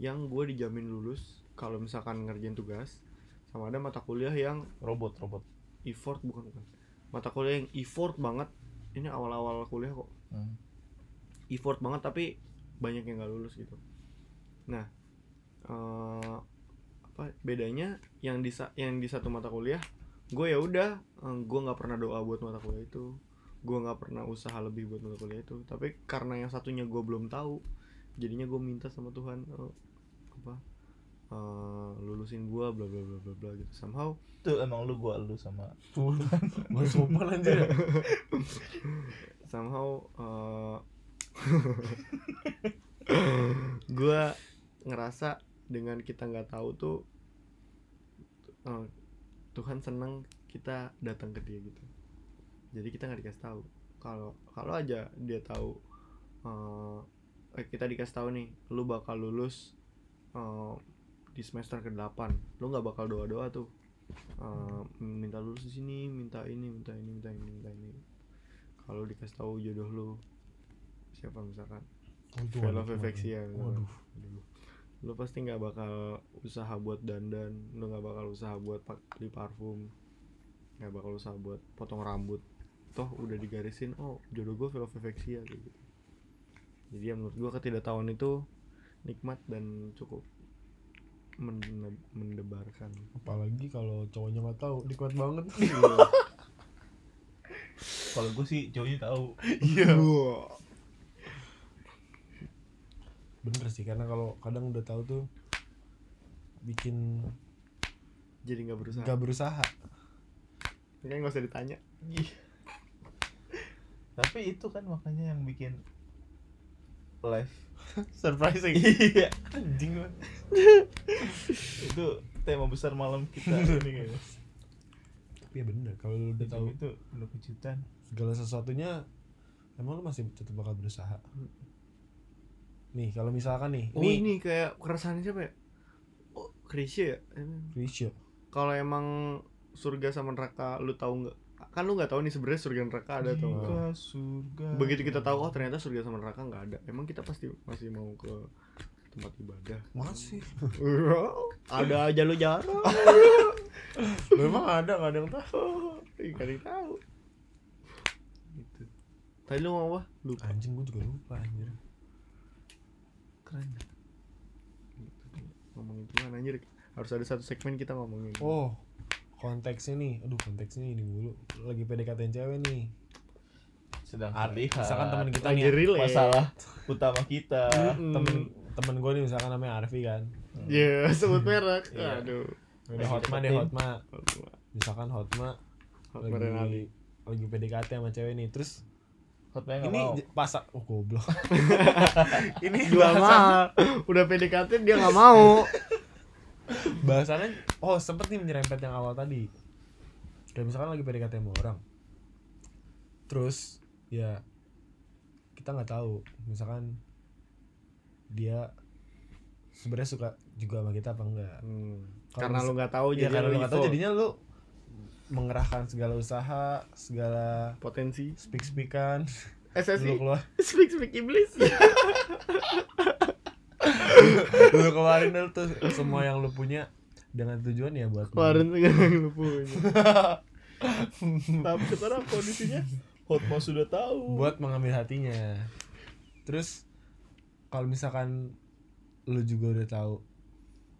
Speaker 2: yang gue dijamin lulus kalau misalkan ngerjain tugas sama ada mata kuliah yang
Speaker 3: robot robot
Speaker 2: effort bukan bukan mata kuliah yang effort banget ini awal-awal kuliah kok
Speaker 3: Mm.
Speaker 2: effort banget tapi banyak yang nggak lulus gitu nah eh apa bedanya yang di sa- yang di satu mata kuliah gue ya udah eh, gue nggak pernah doa buat mata kuliah itu gue nggak pernah usaha lebih buat mata kuliah itu tapi karena yang satunya gue belum tahu jadinya gue minta sama Tuhan eh, apa eh, lulusin gue bla bla bla bla bla gitu somehow
Speaker 3: tuh emang lu gua lu sama
Speaker 1: Tuh. Gua sumpah anjir.
Speaker 2: somehow uh, gue ngerasa dengan kita nggak tahu tuh uh, Tuhan seneng kita datang ke dia gitu jadi kita nggak dikasih tahu kalau kalau aja dia tahu uh, eh, kita dikasih tahu nih lu bakal lulus uh, di semester ke 8 lu nggak bakal doa doa tuh Uh, minta lulus di sini minta ini minta ini minta ini minta ini kalau dikasih tahu jodoh lu siapa misalkan Velo Vefexia ya misalkan.
Speaker 1: Waduh.
Speaker 2: Aduh. lu pasti nggak bakal usaha buat dandan lu nggak bakal usaha buat pak- beli parfum nggak bakal usaha buat potong rambut toh udah digarisin oh jodoh gue Velo Vefexia kayak gitu jadi ya menurut gue ketidaktahuan itu nikmat dan cukup mende- mendebarkan
Speaker 1: Apalagi kalau cowoknya nggak tahu, nikmat banget.
Speaker 3: kalau gua sih cowoknya tahu
Speaker 2: iya
Speaker 1: Bener sih, karena kalau kadang udah tahu tuh bikin
Speaker 2: jadi nggak berusaha
Speaker 1: nggak berusaha.
Speaker 2: Kayaknya nggak usah ditanya
Speaker 3: Ih. tapi itu kan makanya yang bikin live
Speaker 1: Surprising.
Speaker 3: iya
Speaker 1: Anjing lah.
Speaker 3: itu tema besar malam kita ini kayaknya
Speaker 1: Tapi ya bener, kalau lu udah
Speaker 3: udah
Speaker 1: tahu
Speaker 3: tahu itu udah kejutan
Speaker 1: segala sesuatunya emang lu masih tetap bakal berusaha. Nih, kalau misalkan nih,
Speaker 2: Oh
Speaker 1: ini
Speaker 2: ini kayak keresahan siapa ya? Oh, Krisya ya? Emang.
Speaker 1: Krisya.
Speaker 2: Kalau emang surga sama neraka lu tahu nggak? Kan lu nggak tahu nih sebenarnya surga neraka ada atau
Speaker 1: Iya.
Speaker 2: nggak.
Speaker 3: Jika surga
Speaker 2: Begitu kita tahu oh ternyata surga sama neraka nggak ada. Emang kita pasti masih mau ke tempat ibadah.
Speaker 1: Masih.
Speaker 2: ada aja lu jarang.
Speaker 1: Memang ada nggak ada yang tahu.
Speaker 2: Ih, nggak ada yang tahu. Gitu. Tadi lu mau apa? Lupa.
Speaker 1: Anjing gua juga lupa anjir.
Speaker 3: keren
Speaker 2: Ngomongin Tuhan anjir. Harus ada satu segmen kita ngomongin.
Speaker 1: Oh, konteksnya nih. Aduh, konteksnya ini mulu. Lagi PDKT cewek nih.
Speaker 3: sedang
Speaker 1: Ar-
Speaker 3: terlihat
Speaker 1: misalkan temen kita ya.
Speaker 2: Lagi
Speaker 1: nih,
Speaker 2: relate.
Speaker 3: masalah utama kita
Speaker 2: Mm-mm.
Speaker 1: temen temen gue nih misalkan namanya Arfi kan.
Speaker 2: Hmm. Iya, sebut merek.
Speaker 1: Iya.
Speaker 2: Aduh.
Speaker 1: Udah Hotma deh Hotma. Misalkan Hotma
Speaker 2: Hot Merenali.
Speaker 1: lagi lagi PDKT sama cewek nih. Terus
Speaker 3: hotmail nggak
Speaker 1: ini
Speaker 3: mau
Speaker 1: j- pasar oh goblok. ini
Speaker 2: Gak
Speaker 1: bahasan-
Speaker 2: mau. Udah PDKT dia gak mau.
Speaker 1: bahasannya oh sempet nih menyerempet yang awal tadi. Kayak misalkan lagi PDKT sama orang. Terus ya kita nggak tahu misalkan dia sebenarnya suka juga sama kita apa enggak. Kalau
Speaker 2: Hmm. Karena
Speaker 1: mis-
Speaker 2: lu gak tahu
Speaker 1: Iya
Speaker 2: jadi
Speaker 1: karena lu nggak tahu
Speaker 2: evil.
Speaker 1: jadinya lu mengerahkan segala usaha, segala
Speaker 2: potensi.
Speaker 1: speak speakan lu
Speaker 2: SSI.
Speaker 1: keluar
Speaker 2: Speak speak iblis.
Speaker 1: lu keluarin dulu tuh semua yang lu punya dengan tujuan ya buat Iya. lu.
Speaker 2: Kemarin tuh gak lu punya. Tapi sekarang kondisinya
Speaker 3: hotmail sudah tahu
Speaker 1: buat mengambil hatinya. Terus kalau misalkan lu juga udah tahu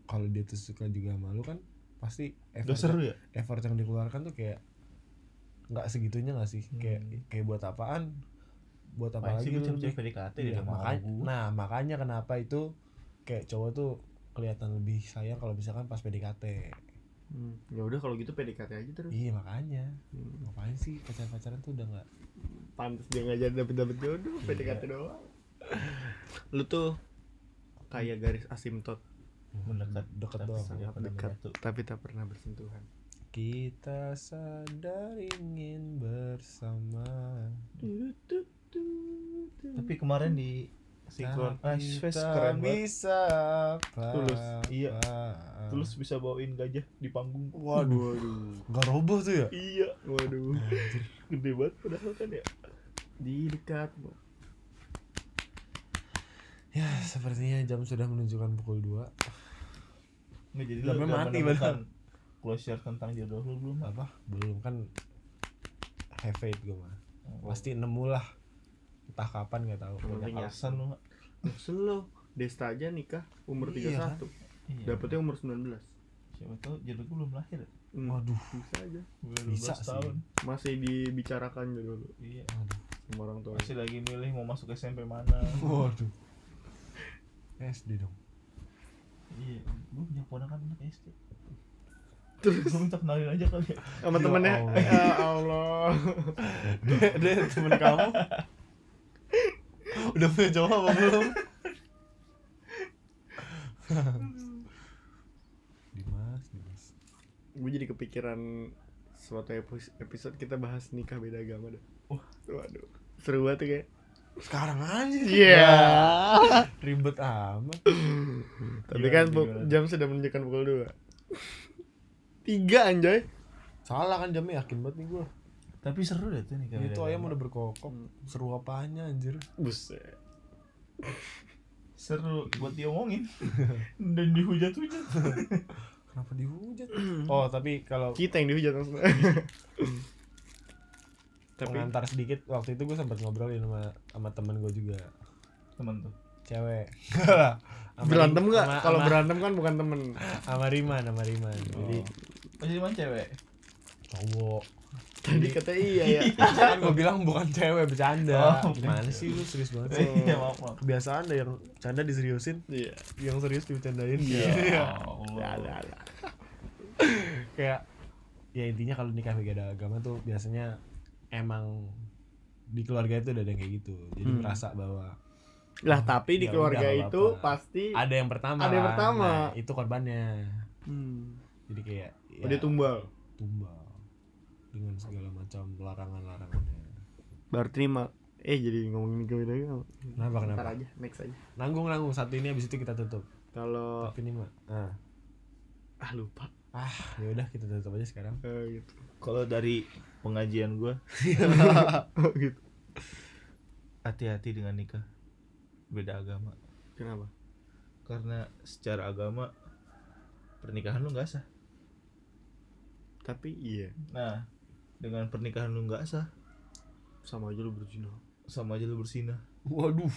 Speaker 1: kalau dia tuh suka juga sama lu kan pasti
Speaker 3: Udah
Speaker 1: effort,
Speaker 3: seru ya?
Speaker 1: effort yang dikeluarkan tuh kayak nggak segitunya nggak sih kayak
Speaker 3: Hmm.
Speaker 1: kayak buat apaan buat apa lagi
Speaker 3: Apalagi sih
Speaker 1: lu
Speaker 3: cewek PDKT
Speaker 1: Iya,
Speaker 3: dia mau
Speaker 1: makanya,
Speaker 3: gua.
Speaker 1: nah makanya kenapa itu kayak cowok tuh kelihatan lebih sayang kalau misalkan pas PDKT
Speaker 2: Hmm, ya udah kalau gitu PDKT aja terus.
Speaker 1: iya makanya
Speaker 2: Hmm.
Speaker 1: ngapain sih pacaran-pacaran tuh udah nggak
Speaker 2: Pantes dia nggak jadi dapet dapet jodoh PDKT doang. Iya. Lu tuh kayak garis asimtot
Speaker 3: mendekat
Speaker 1: Deket
Speaker 2: Oh,
Speaker 3: tapi
Speaker 1: doang.
Speaker 3: sangat
Speaker 2: Dekat.
Speaker 3: menyatu.
Speaker 2: tapi tak pernah bersentuhan.
Speaker 1: kita sadar ingin bersama
Speaker 3: tapi kemarin di sinkron
Speaker 1: Tapi
Speaker 3: Ashfest
Speaker 1: tak
Speaker 3: keren banget
Speaker 1: bisa
Speaker 3: Tulus, iya.
Speaker 1: apa-apa.
Speaker 3: terus bisa bawain gajah di panggung
Speaker 1: waduh
Speaker 2: Waduh.
Speaker 1: nggak roboh tuh ya
Speaker 3: iya
Speaker 2: Waduh.
Speaker 3: gede banget padahal kan ya
Speaker 2: Di dekat.
Speaker 1: ya sepertinya jam sudah menunjukkan pukul 2
Speaker 3: nggak jadi
Speaker 1: Lambe
Speaker 3: udah
Speaker 1: mati
Speaker 3: menemukan
Speaker 1: padahal.
Speaker 3: closure tentang jodoh lu belum
Speaker 1: apa belum kan have faith gue mah pasti nemu lah entah kapan nggak tahu
Speaker 3: banyak
Speaker 2: Penting ya.
Speaker 3: alasan lu nggak?
Speaker 2: Selo. Desta aja nikah umur
Speaker 1: Iya,
Speaker 2: 31.
Speaker 3: Iya.
Speaker 2: Dapetnya umur 19.
Speaker 3: siapa tahu jodoh gua belum lahir
Speaker 2: Hmm,
Speaker 1: waduh
Speaker 2: Bisa aja.
Speaker 3: Gua
Speaker 1: Bisa
Speaker 3: 12
Speaker 1: sih.
Speaker 3: tahun
Speaker 2: Masih dibicarakan jodoh lu
Speaker 3: iya
Speaker 1: waduh
Speaker 2: sama orang tua.
Speaker 3: masih lagi milih mau masuk SMP mana
Speaker 1: waduh SD dong
Speaker 3: iya gua punya ponakan anak SD terus gua minta kenalin aja kali ya
Speaker 2: Sama temennya.
Speaker 1: Allah.
Speaker 2: Ya Allah.
Speaker 1: deh temen kamu udah punya cowok apa belum Dimas Dimas
Speaker 2: gue jadi kepikiran suatu epi- episode kita bahas nikah beda agama dah.
Speaker 3: Wah.
Speaker 2: Waduh, seru banget tuh kayak.
Speaker 1: sekarang aja Ya.
Speaker 2: Iya.
Speaker 1: ribet amat
Speaker 2: Tapi
Speaker 3: Gimana
Speaker 2: kan
Speaker 3: nih,
Speaker 2: pu-
Speaker 3: gimana?
Speaker 2: jam sudah menunjukkan pukul 2. Tiga anjay.
Speaker 1: salah kan jamnya yakin banget nih gue
Speaker 3: tapi seru deh tuh nih
Speaker 1: itu
Speaker 3: kayak
Speaker 1: ayam udah berkokok seru apanya anjir
Speaker 2: Buset.
Speaker 3: seru buat diomongin dan dihujat-hujat
Speaker 1: kenapa dihujat oh tapi kalau
Speaker 2: Kita yang dihujat langsung. Tapi
Speaker 1: pengantar sedikit waktu itu gue sempat ngobrolin sama sama temen gue juga
Speaker 3: teman tuh
Speaker 1: cewek Sama
Speaker 2: berantem
Speaker 1: Rim-
Speaker 2: nggak?
Speaker 1: sama-
Speaker 2: Kalau
Speaker 1: sama-
Speaker 2: berantem kan bukan temen.
Speaker 1: sama Riman sama Riman jadi
Speaker 3: oh jadi mana cewek
Speaker 1: cowok
Speaker 2: Tadi katanya iya ya.
Speaker 1: kan gue bilang bukan cewek bercanda
Speaker 3: Oh,
Speaker 1: gimana sih lu serius banget sih
Speaker 3: iya maaf maaf
Speaker 1: Eh, kebiasaan deh yang canda diseriusin
Speaker 2: Iya.
Speaker 1: yang serius dibercandain Gitu
Speaker 3: ya
Speaker 2: Ya,
Speaker 3: Allah
Speaker 2: ada ada.
Speaker 1: kayak ya intinya kalau nikah beda agama tuh biasanya emang di keluarga itu udah ada yang kayak gitu jadi
Speaker 2: Hmm.
Speaker 1: merasa bahwa
Speaker 2: Lah tapi di
Speaker 1: Ya
Speaker 2: keluarga
Speaker 1: udah, nggak
Speaker 2: itu
Speaker 1: apa-apa.
Speaker 2: pasti
Speaker 1: ada yang pertama
Speaker 2: Ada yang
Speaker 1: kan.
Speaker 2: pertama.
Speaker 1: Nah, itu korbannya
Speaker 2: hmm,
Speaker 1: jadi kayak ya,
Speaker 2: udah tumbal.
Speaker 1: tumbal dengan segala macam larangan-larangannya
Speaker 2: Baru terima. Eh jadi ngomongin nikah beda gitu. agama.
Speaker 1: kenapa kenapa
Speaker 2: Ntar aja, next aja.
Speaker 1: nanggung nanggung satu ini habis itu kita tutup
Speaker 2: Kalau
Speaker 1: tapi ini mah ah
Speaker 2: ah lupa
Speaker 1: ya udah kita tutup aja sekarang
Speaker 2: Eh, gitu.
Speaker 3: kalau dari pengajian gue
Speaker 2: gitu.
Speaker 3: hati-hati dengan nikah beda agama
Speaker 2: Kenapa?
Speaker 3: karena secara agama pernikahan lu nggak sah
Speaker 2: Tapi iya,
Speaker 3: nah dengan pernikahan lu nggak sah
Speaker 2: sama aja lu berzina.
Speaker 3: sama aja lu bersinah
Speaker 1: waduh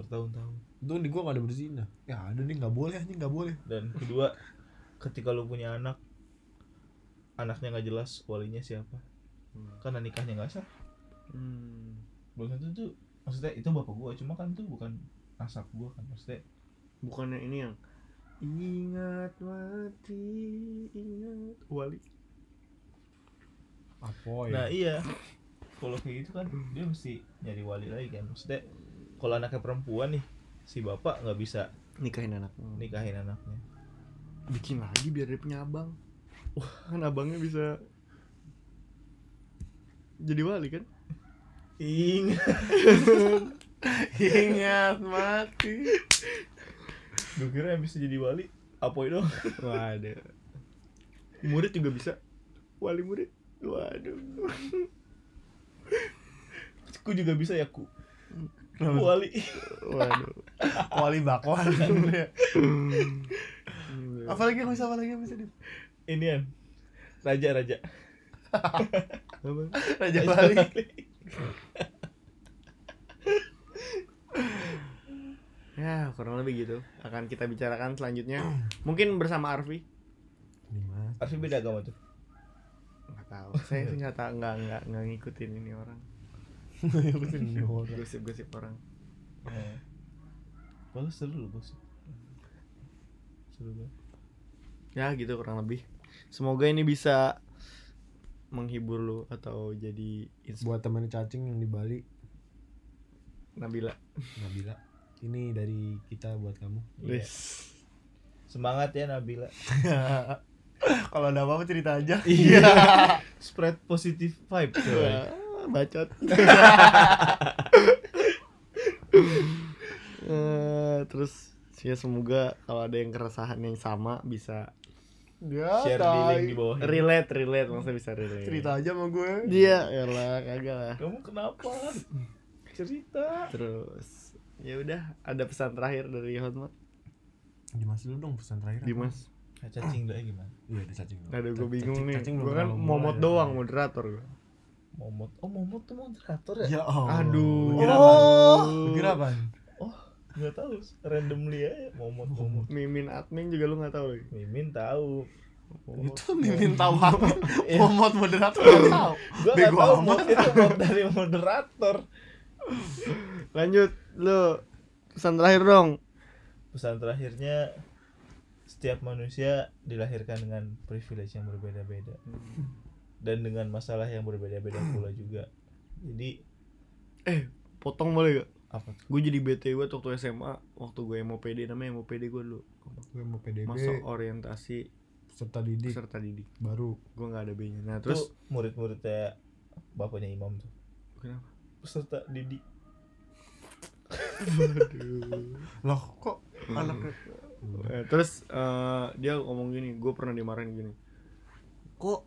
Speaker 3: bertahun-tahun
Speaker 1: itu di gua gak ada berzina ya ada nih nggak boleh nih nggak boleh
Speaker 3: dan kedua ketika lu punya anak anaknya nggak jelas walinya siapa
Speaker 2: Hmm.
Speaker 3: karena nikahnya nggak sah
Speaker 2: Hmm.
Speaker 3: belum tentu tuh maksudnya itu bapak gua cuma kan tuh bukan nasab gua kan maksudnya
Speaker 2: Bukannya ini yang ingat mati ingat wali.
Speaker 1: apa ya
Speaker 3: Nah iya kalau kayak gitu kan dia mesti nyari wali lagi kan Maksudnya kalau anaknya perempuan nih Si bapak nggak bisa
Speaker 2: Nikahin anak.
Speaker 3: nikahin anaknya
Speaker 2: Bikin lagi biar dia punya abang. Wah, kan abangnya bisa jadi wali kan?
Speaker 3: Ingat
Speaker 2: Iya,
Speaker 1: ingat mati
Speaker 3: Gue kira yang bisa jadi wali Apoy dong
Speaker 2: Waduh. Murid juga bisa. Wali murid. Waduh.
Speaker 3: Ku juga bisa ya ku Wali
Speaker 2: Waduh.
Speaker 1: wali bakwan
Speaker 2: Hmm.
Speaker 1: apalagi yang bisa apalagi yang bisa di
Speaker 3: Ini kan Raja-raja
Speaker 2: Apa?
Speaker 1: raja bali
Speaker 2: Ya, kurang lebih gitu. Akan kita bicarakan selanjutnya. Mungkin bersama Arfi.
Speaker 1: Dimas
Speaker 3: Arfi beda agama tuh.
Speaker 2: nggak tahu saya sih nggak tahu nggak nggak nggak ngikutin ini orang gosip-gosip orang
Speaker 3: Eh. Padahal seru loh bos. Seru banget.
Speaker 2: ya gitu kurang lebih semoga ini bisa menghibur lu atau jadi insp-
Speaker 4: buat teman cacing yang di Bali
Speaker 2: Nabila
Speaker 4: Nabila ini dari kita buat kamu
Speaker 3: Iya.
Speaker 2: Wes.
Speaker 3: Semangat ya Nabila.
Speaker 1: Kalau ada apa-apa cerita aja.
Speaker 3: Spread positive vibe coy.
Speaker 1: Iya.
Speaker 2: Ah, bacot Eh, terus ya semoga kalau ada yang keresahan yang sama bisa
Speaker 1: Dia
Speaker 3: Share di link di bawah. ini.
Speaker 2: relate relate maksudnya bisa relate
Speaker 1: aja sama gue.
Speaker 2: dia ya lah kagak lah
Speaker 3: Kamu kenapa? Cerita.
Speaker 2: terus ya udah ada pesan terakhir dari Hotmart
Speaker 1: Dimas dulu dong pesan terakhir.
Speaker 2: Dimas
Speaker 3: Nah, cacing doa gimana?
Speaker 4: iya ada cacing dong.
Speaker 2: ada gue
Speaker 4: Cacing-
Speaker 2: bingung nih
Speaker 4: cacing belum
Speaker 2: gue kan
Speaker 4: terlalu
Speaker 2: momot
Speaker 1: ya.
Speaker 4: mulai.
Speaker 2: doang moderator gue
Speaker 3: Momot. Oh, Momot tuh moderator ya?
Speaker 1: Ya Allah.
Speaker 2: Aduh.
Speaker 1: Kira
Speaker 2: Oh.
Speaker 1: apaan? Kira apaan?
Speaker 3: Gak Oh, tahu, randomly aja Momot Momot.
Speaker 2: mimin admin juga lu nggak tahu lagi
Speaker 3: Mimin tahu. Momot.
Speaker 1: Itu mimin tahu banget.
Speaker 4: Iya.
Speaker 1: Pomot moderator nggak tahu.
Speaker 3: Gua gak
Speaker 1: Bego
Speaker 3: tahu
Speaker 1: amat.
Speaker 3: Momot itu mod dari moderator.
Speaker 2: lanjut lu pesan terakhir dong
Speaker 3: Pesan terakhirnya setiap manusia dilahirkan dengan privilege yang berbeda-beda
Speaker 2: Hmm.
Speaker 3: dan dengan masalah yang berbeda-beda pula juga. Jadi
Speaker 2: potong boleh gak
Speaker 3: apa tuh?
Speaker 2: gue jadi bete gue waktu SMA waktu gue MOPD namanya MOPD gue dulu
Speaker 4: gue mau PDB
Speaker 2: masuk orientasi
Speaker 4: serta didik
Speaker 2: peserta didik
Speaker 4: baru
Speaker 2: gue nggak ada B nya nah
Speaker 3: Terus
Speaker 2: terus
Speaker 3: murid-muridnya bapaknya Imam tuh.
Speaker 2: Kenapa?
Speaker 3: Peserta Didi.
Speaker 1: Loh kok anak
Speaker 2: eh, terus eh, dia ngomong gini gue pernah dimarahin gini kok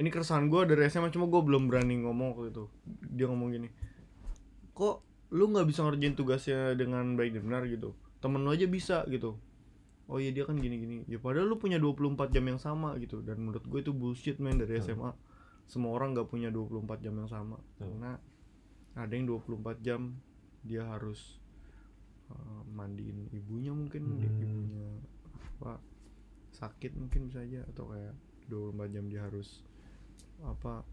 Speaker 2: ini keresahan gue dari SMA cuma gue belum berani ngomong waktu itu dia ngomong gini kok lu nggak bisa ngerjain tugasnya dengan baik dan benar gitu temen lu aja bisa gitu oh iya dia kan gini gini ya padahal lu punya 24 jam yang sama gitu dan menurut gue itu bullshit men dari
Speaker 3: Betul.
Speaker 2: SMA semua orang nggak punya 24 jam yang sama
Speaker 3: Betul.
Speaker 2: karena ada yang 24 jam dia harus uh, mandiin ibunya mungkin di-
Speaker 4: Hmm.
Speaker 2: ibunya apa sakit mungkin bisa aja atau kayak 24 jam dia harus apa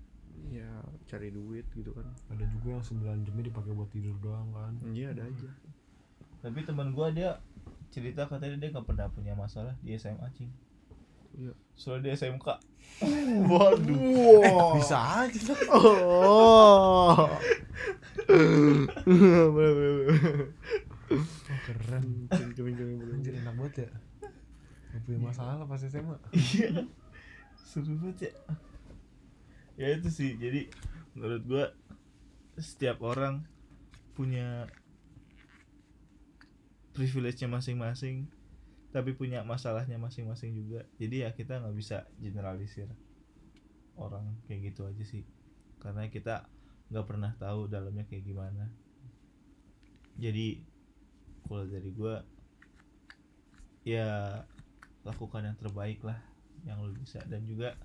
Speaker 2: ya cari duit gitu kan
Speaker 4: ada juga yang 9 jamnya dipakai buat tidur doang kan
Speaker 2: iya ada
Speaker 3: Hmm.
Speaker 2: aja
Speaker 3: Tapi teman gua dia cerita katanya dia nggak pernah punya masalah di SMA cing.
Speaker 2: Iya.
Speaker 3: Soalnya dia SMK.
Speaker 2: waduh
Speaker 1: Eh, bisa aja.
Speaker 2: oh boleh boleh boleh.
Speaker 4: Wah, keren
Speaker 2: Cumi, cumi, cumi, boleh
Speaker 4: anjir enak banget ya Gak punya masalah pas SMA
Speaker 3: Iya. Seru banget ya. Ya itu sih. Jadi menurut gua setiap orang punya privilege-nya masing-masing tapi punya masalahnya masing-masing juga jadi ya kita nggak bisa generalisir orang kayak gitu aja sih karena kita nggak pernah tahu dalamnya kayak gimana jadi kalau dari gua ya lakukan yang terbaik lah yang lu bisa dan juga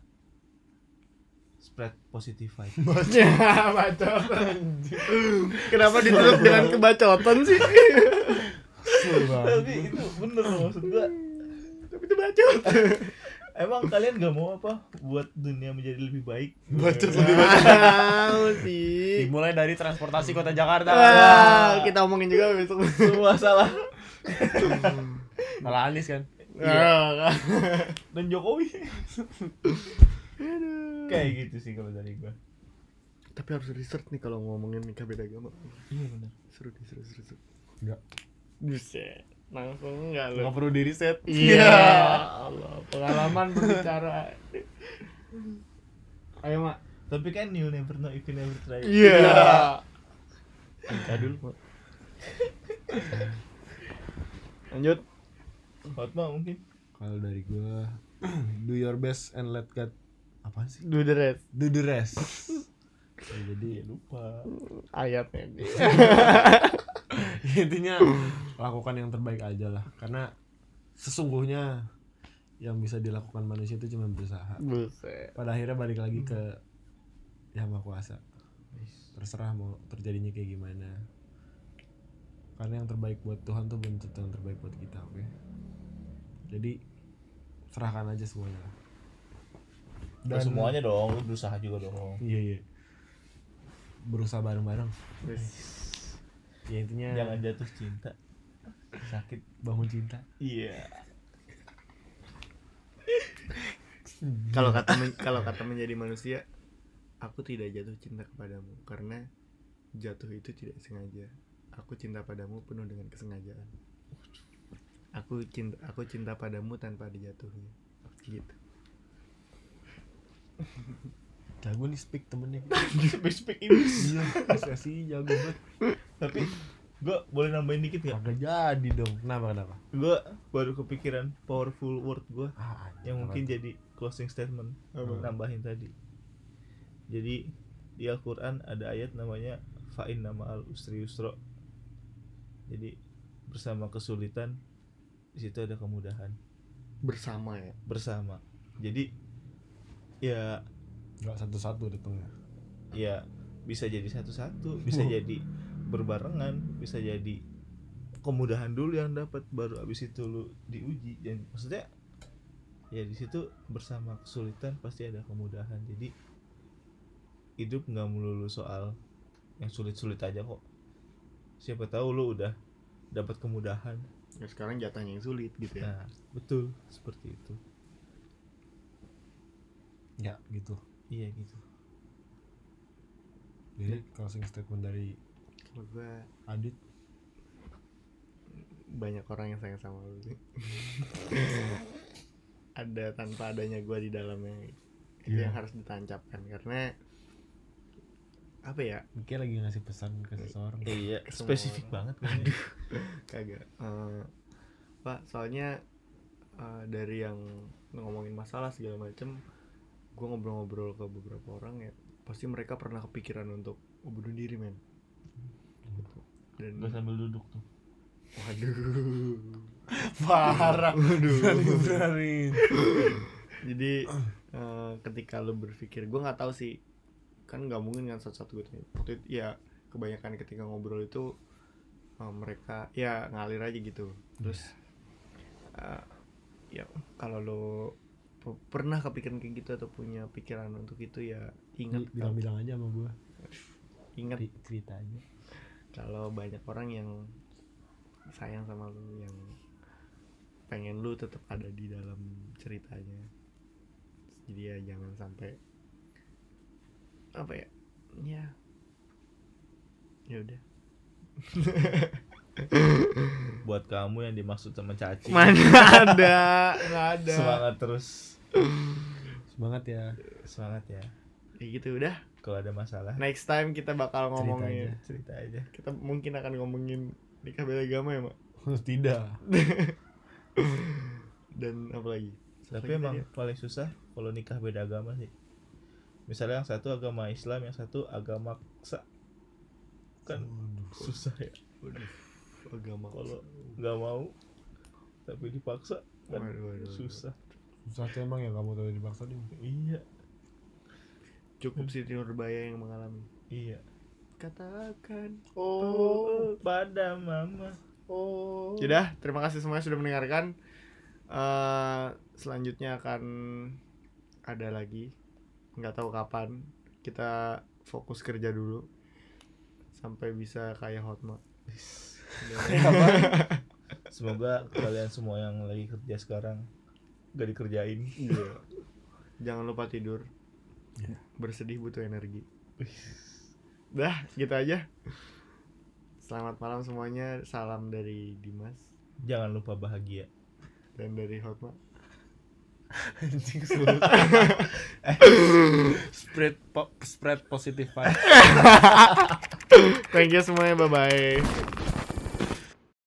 Speaker 3: spread positive vibe
Speaker 2: kenapa ditutup dengan kebacotan sih
Speaker 3: tapi itu bener loh, maksud gua
Speaker 2: tapi itu bacot
Speaker 3: emang kalian gak mau apa buat dunia menjadi lebih baik
Speaker 1: Bacot
Speaker 3: Nah,
Speaker 1: lebih banyak.
Speaker 2: tahu sih
Speaker 1: Dimulai dari transportasi kota Jakarta.
Speaker 2: Wah, kita omongin juga besok
Speaker 3: Nah, semua salah
Speaker 1: Malah Anies kan.
Speaker 2: Iya.
Speaker 3: dan Jokowi kayak gitu sih kalau dari gua
Speaker 2: Tapi harus research nih kalau ngomongin nikah beda agama.
Speaker 3: iya bener
Speaker 2: Seru nih, seru seru seru.
Speaker 4: Enggak.
Speaker 2: Buset. Langsung enggak
Speaker 1: Enggak perlu di reset.
Speaker 2: Iya. Allah, pengalaman berbicara.
Speaker 1: Ayo, Mak.
Speaker 3: tapi kan you never know if you never try
Speaker 2: Iya.
Speaker 3: Nikah dulu
Speaker 2: Lanjut.
Speaker 3: Hotma mungkin
Speaker 4: kalau dari gue do your best and let God apa sih
Speaker 2: Do the rest.
Speaker 4: do the rest Ya, jadi
Speaker 3: ya lupa
Speaker 2: Ayatnya.
Speaker 4: intinya lakukan yang terbaik aja lah karena sesungguhnya yang bisa dilakukan manusia itu cuma berusaha
Speaker 2: Buset.
Speaker 4: pada akhirnya balik lagi ke yang maha kuasa terserah mau terjadinya kayak gimana karena yang terbaik buat Tuhan tuh belum tentu yang terbaik buat kita oke jadi serahkan aja semuanya lah.
Speaker 3: Lu
Speaker 4: Dan-
Speaker 3: semuanya dong lu berusaha juga dong
Speaker 4: Iya iya. Berusaha bareng-bareng.
Speaker 2: Wis.
Speaker 4: Ya intinya
Speaker 3: jangan jatuh cinta sakit
Speaker 4: bangun cinta.
Speaker 3: iya
Speaker 2: Kalau kata men- kalau kata menjadi manusia, aku tidak jatuh cinta kepadamu karena jatuh itu tidak sengaja. Aku cinta padamu penuh dengan kesengajaan. Aku cinta aku cinta padamu tanpa ada jatuhnya. Gitu.
Speaker 4: Jago nih speak temennya.
Speaker 3: speak speak ini
Speaker 4: Iya, sesi jago banget.
Speaker 3: tapi gua boleh nambahin dikit nggak
Speaker 4: Kagak Ya, jadi dong. Kenapa kenapa?
Speaker 3: gua baru kepikiran powerful word gua
Speaker 4: Ah, anjing,
Speaker 3: yang
Speaker 4: apa
Speaker 3: Ya, mungkin
Speaker 4: tuh?
Speaker 3: jadi closing statement
Speaker 2: Apa?
Speaker 3: nambahin tadi jadi di Al-Quran ada ayat namanya fa'in nama al usri yusro jadi bersama kesulitan di situ ada kemudahan
Speaker 2: Bersama ya.
Speaker 3: bersama jadi ya
Speaker 4: nggak satu-satu datangnya.
Speaker 3: ya bisa jadi satu-satu bisa
Speaker 2: Hmm.
Speaker 3: jadi berbarengan bisa jadi kemudahan dulu yang dapat baru abis itu lu diuji dan maksudnya ya di situ bersama kesulitan pasti ada kemudahan jadi hidup nggak melulu soal yang sulit-sulit aja kok siapa tahu lu udah dapat kemudahan
Speaker 2: Ya, sekarang jatahnya yang sulit gitu ya.
Speaker 3: nah betul seperti itu
Speaker 4: Ya gitu.
Speaker 3: iya gitu
Speaker 4: Jadi closing statement dari
Speaker 2: Kalau gua
Speaker 4: Adit
Speaker 2: banyak orang yang sayang sama lu. ada tanpa adanya gua di dalamnya. Itu
Speaker 4: Iya.
Speaker 2: yang harus ditancapkan karena apa ya?
Speaker 4: mungkin lagi ngasih pesan ke seseorang.
Speaker 3: iya
Speaker 2: Semua
Speaker 3: spesifik
Speaker 2: orang.
Speaker 3: banget aduh
Speaker 2: kagak Eh, pak soalnya eh, dari yang ngomongin masalah segala macem gue ngobrol-ngobrol ke beberapa orang ya pasti mereka pernah kepikiran untuk oh, bunuh diri men Gitu. dan
Speaker 3: gua sambil duduk tuh
Speaker 2: waduh
Speaker 4: Parah.
Speaker 2: waduh
Speaker 4: Benerin.
Speaker 2: jadi eh, ketika lo berpikir gue nggak tahu sih kan nggak mungkin kan satu-satu gue tanya. waktu itu ya kebanyakan ketika ngobrol itu eh, mereka ya ngalir aja gitu terus eh, ya kalau lo pe- pernah kepikiran kayak gitu atau punya pikiran untuk itu ya ingat
Speaker 4: Bi- Bilang-bilang aja sama gua.
Speaker 2: ingat
Speaker 4: Ri- Cerita aja.
Speaker 2: kalau banyak orang yang sayang sama lu yang pengen lu tetap ada di dalam ceritanya jadi ya jangan sampai apa ya ya ya udah
Speaker 3: buat kamu yang dimaksud sama cacing
Speaker 2: mana ada nggak ada
Speaker 3: semangat terus
Speaker 4: Semangat ya.
Speaker 3: semangat ya
Speaker 2: ya gitu udah
Speaker 3: kalau ada masalah
Speaker 2: next time kita bakal ngomongin
Speaker 3: cerita aja
Speaker 2: kita mungkin akan ngomongin nikah beda agama ya mak
Speaker 4: Tidak.
Speaker 2: dan apa lagi Satu
Speaker 3: tapi
Speaker 2: lagi
Speaker 3: emang
Speaker 2: tadi ya?
Speaker 3: paling susah kalau nikah beda agama sih misalnya yang satu agama Islam yang satu agama ksa kan susah ya
Speaker 2: agama
Speaker 3: kalau nggak mau tapi dipaksa kan
Speaker 2: Waduh, waduh, waduh.
Speaker 3: susah
Speaker 4: Susah tuh emang ya kamu tahu dipaksa nih.
Speaker 3: iya
Speaker 2: cukup Siti Nurbaya yang mengalami
Speaker 3: iya
Speaker 2: katakan
Speaker 3: oh pada mama oh
Speaker 2: Sudah, terima kasih semuanya sudah mendengarkan. Eh, selanjutnya akan ada lagi, nggak tahu kapan. Kita fokus kerja dulu sampai bisa kayak Hotma.
Speaker 3: semoga kalian semua yang lagi kerja sekarang gak dikerjain
Speaker 2: Iya. Jangan lupa tidur.
Speaker 4: Iya.
Speaker 2: Bersedih butuh energi. Dah, gitu aja. Selamat malam semuanya. Salam dari Dimas
Speaker 3: jangan lupa bahagia
Speaker 2: dan dari Hotma.
Speaker 4: Anjing sulit. Eh, spread po- spread positive vibe.
Speaker 2: Thank you semuanya. Bye bye.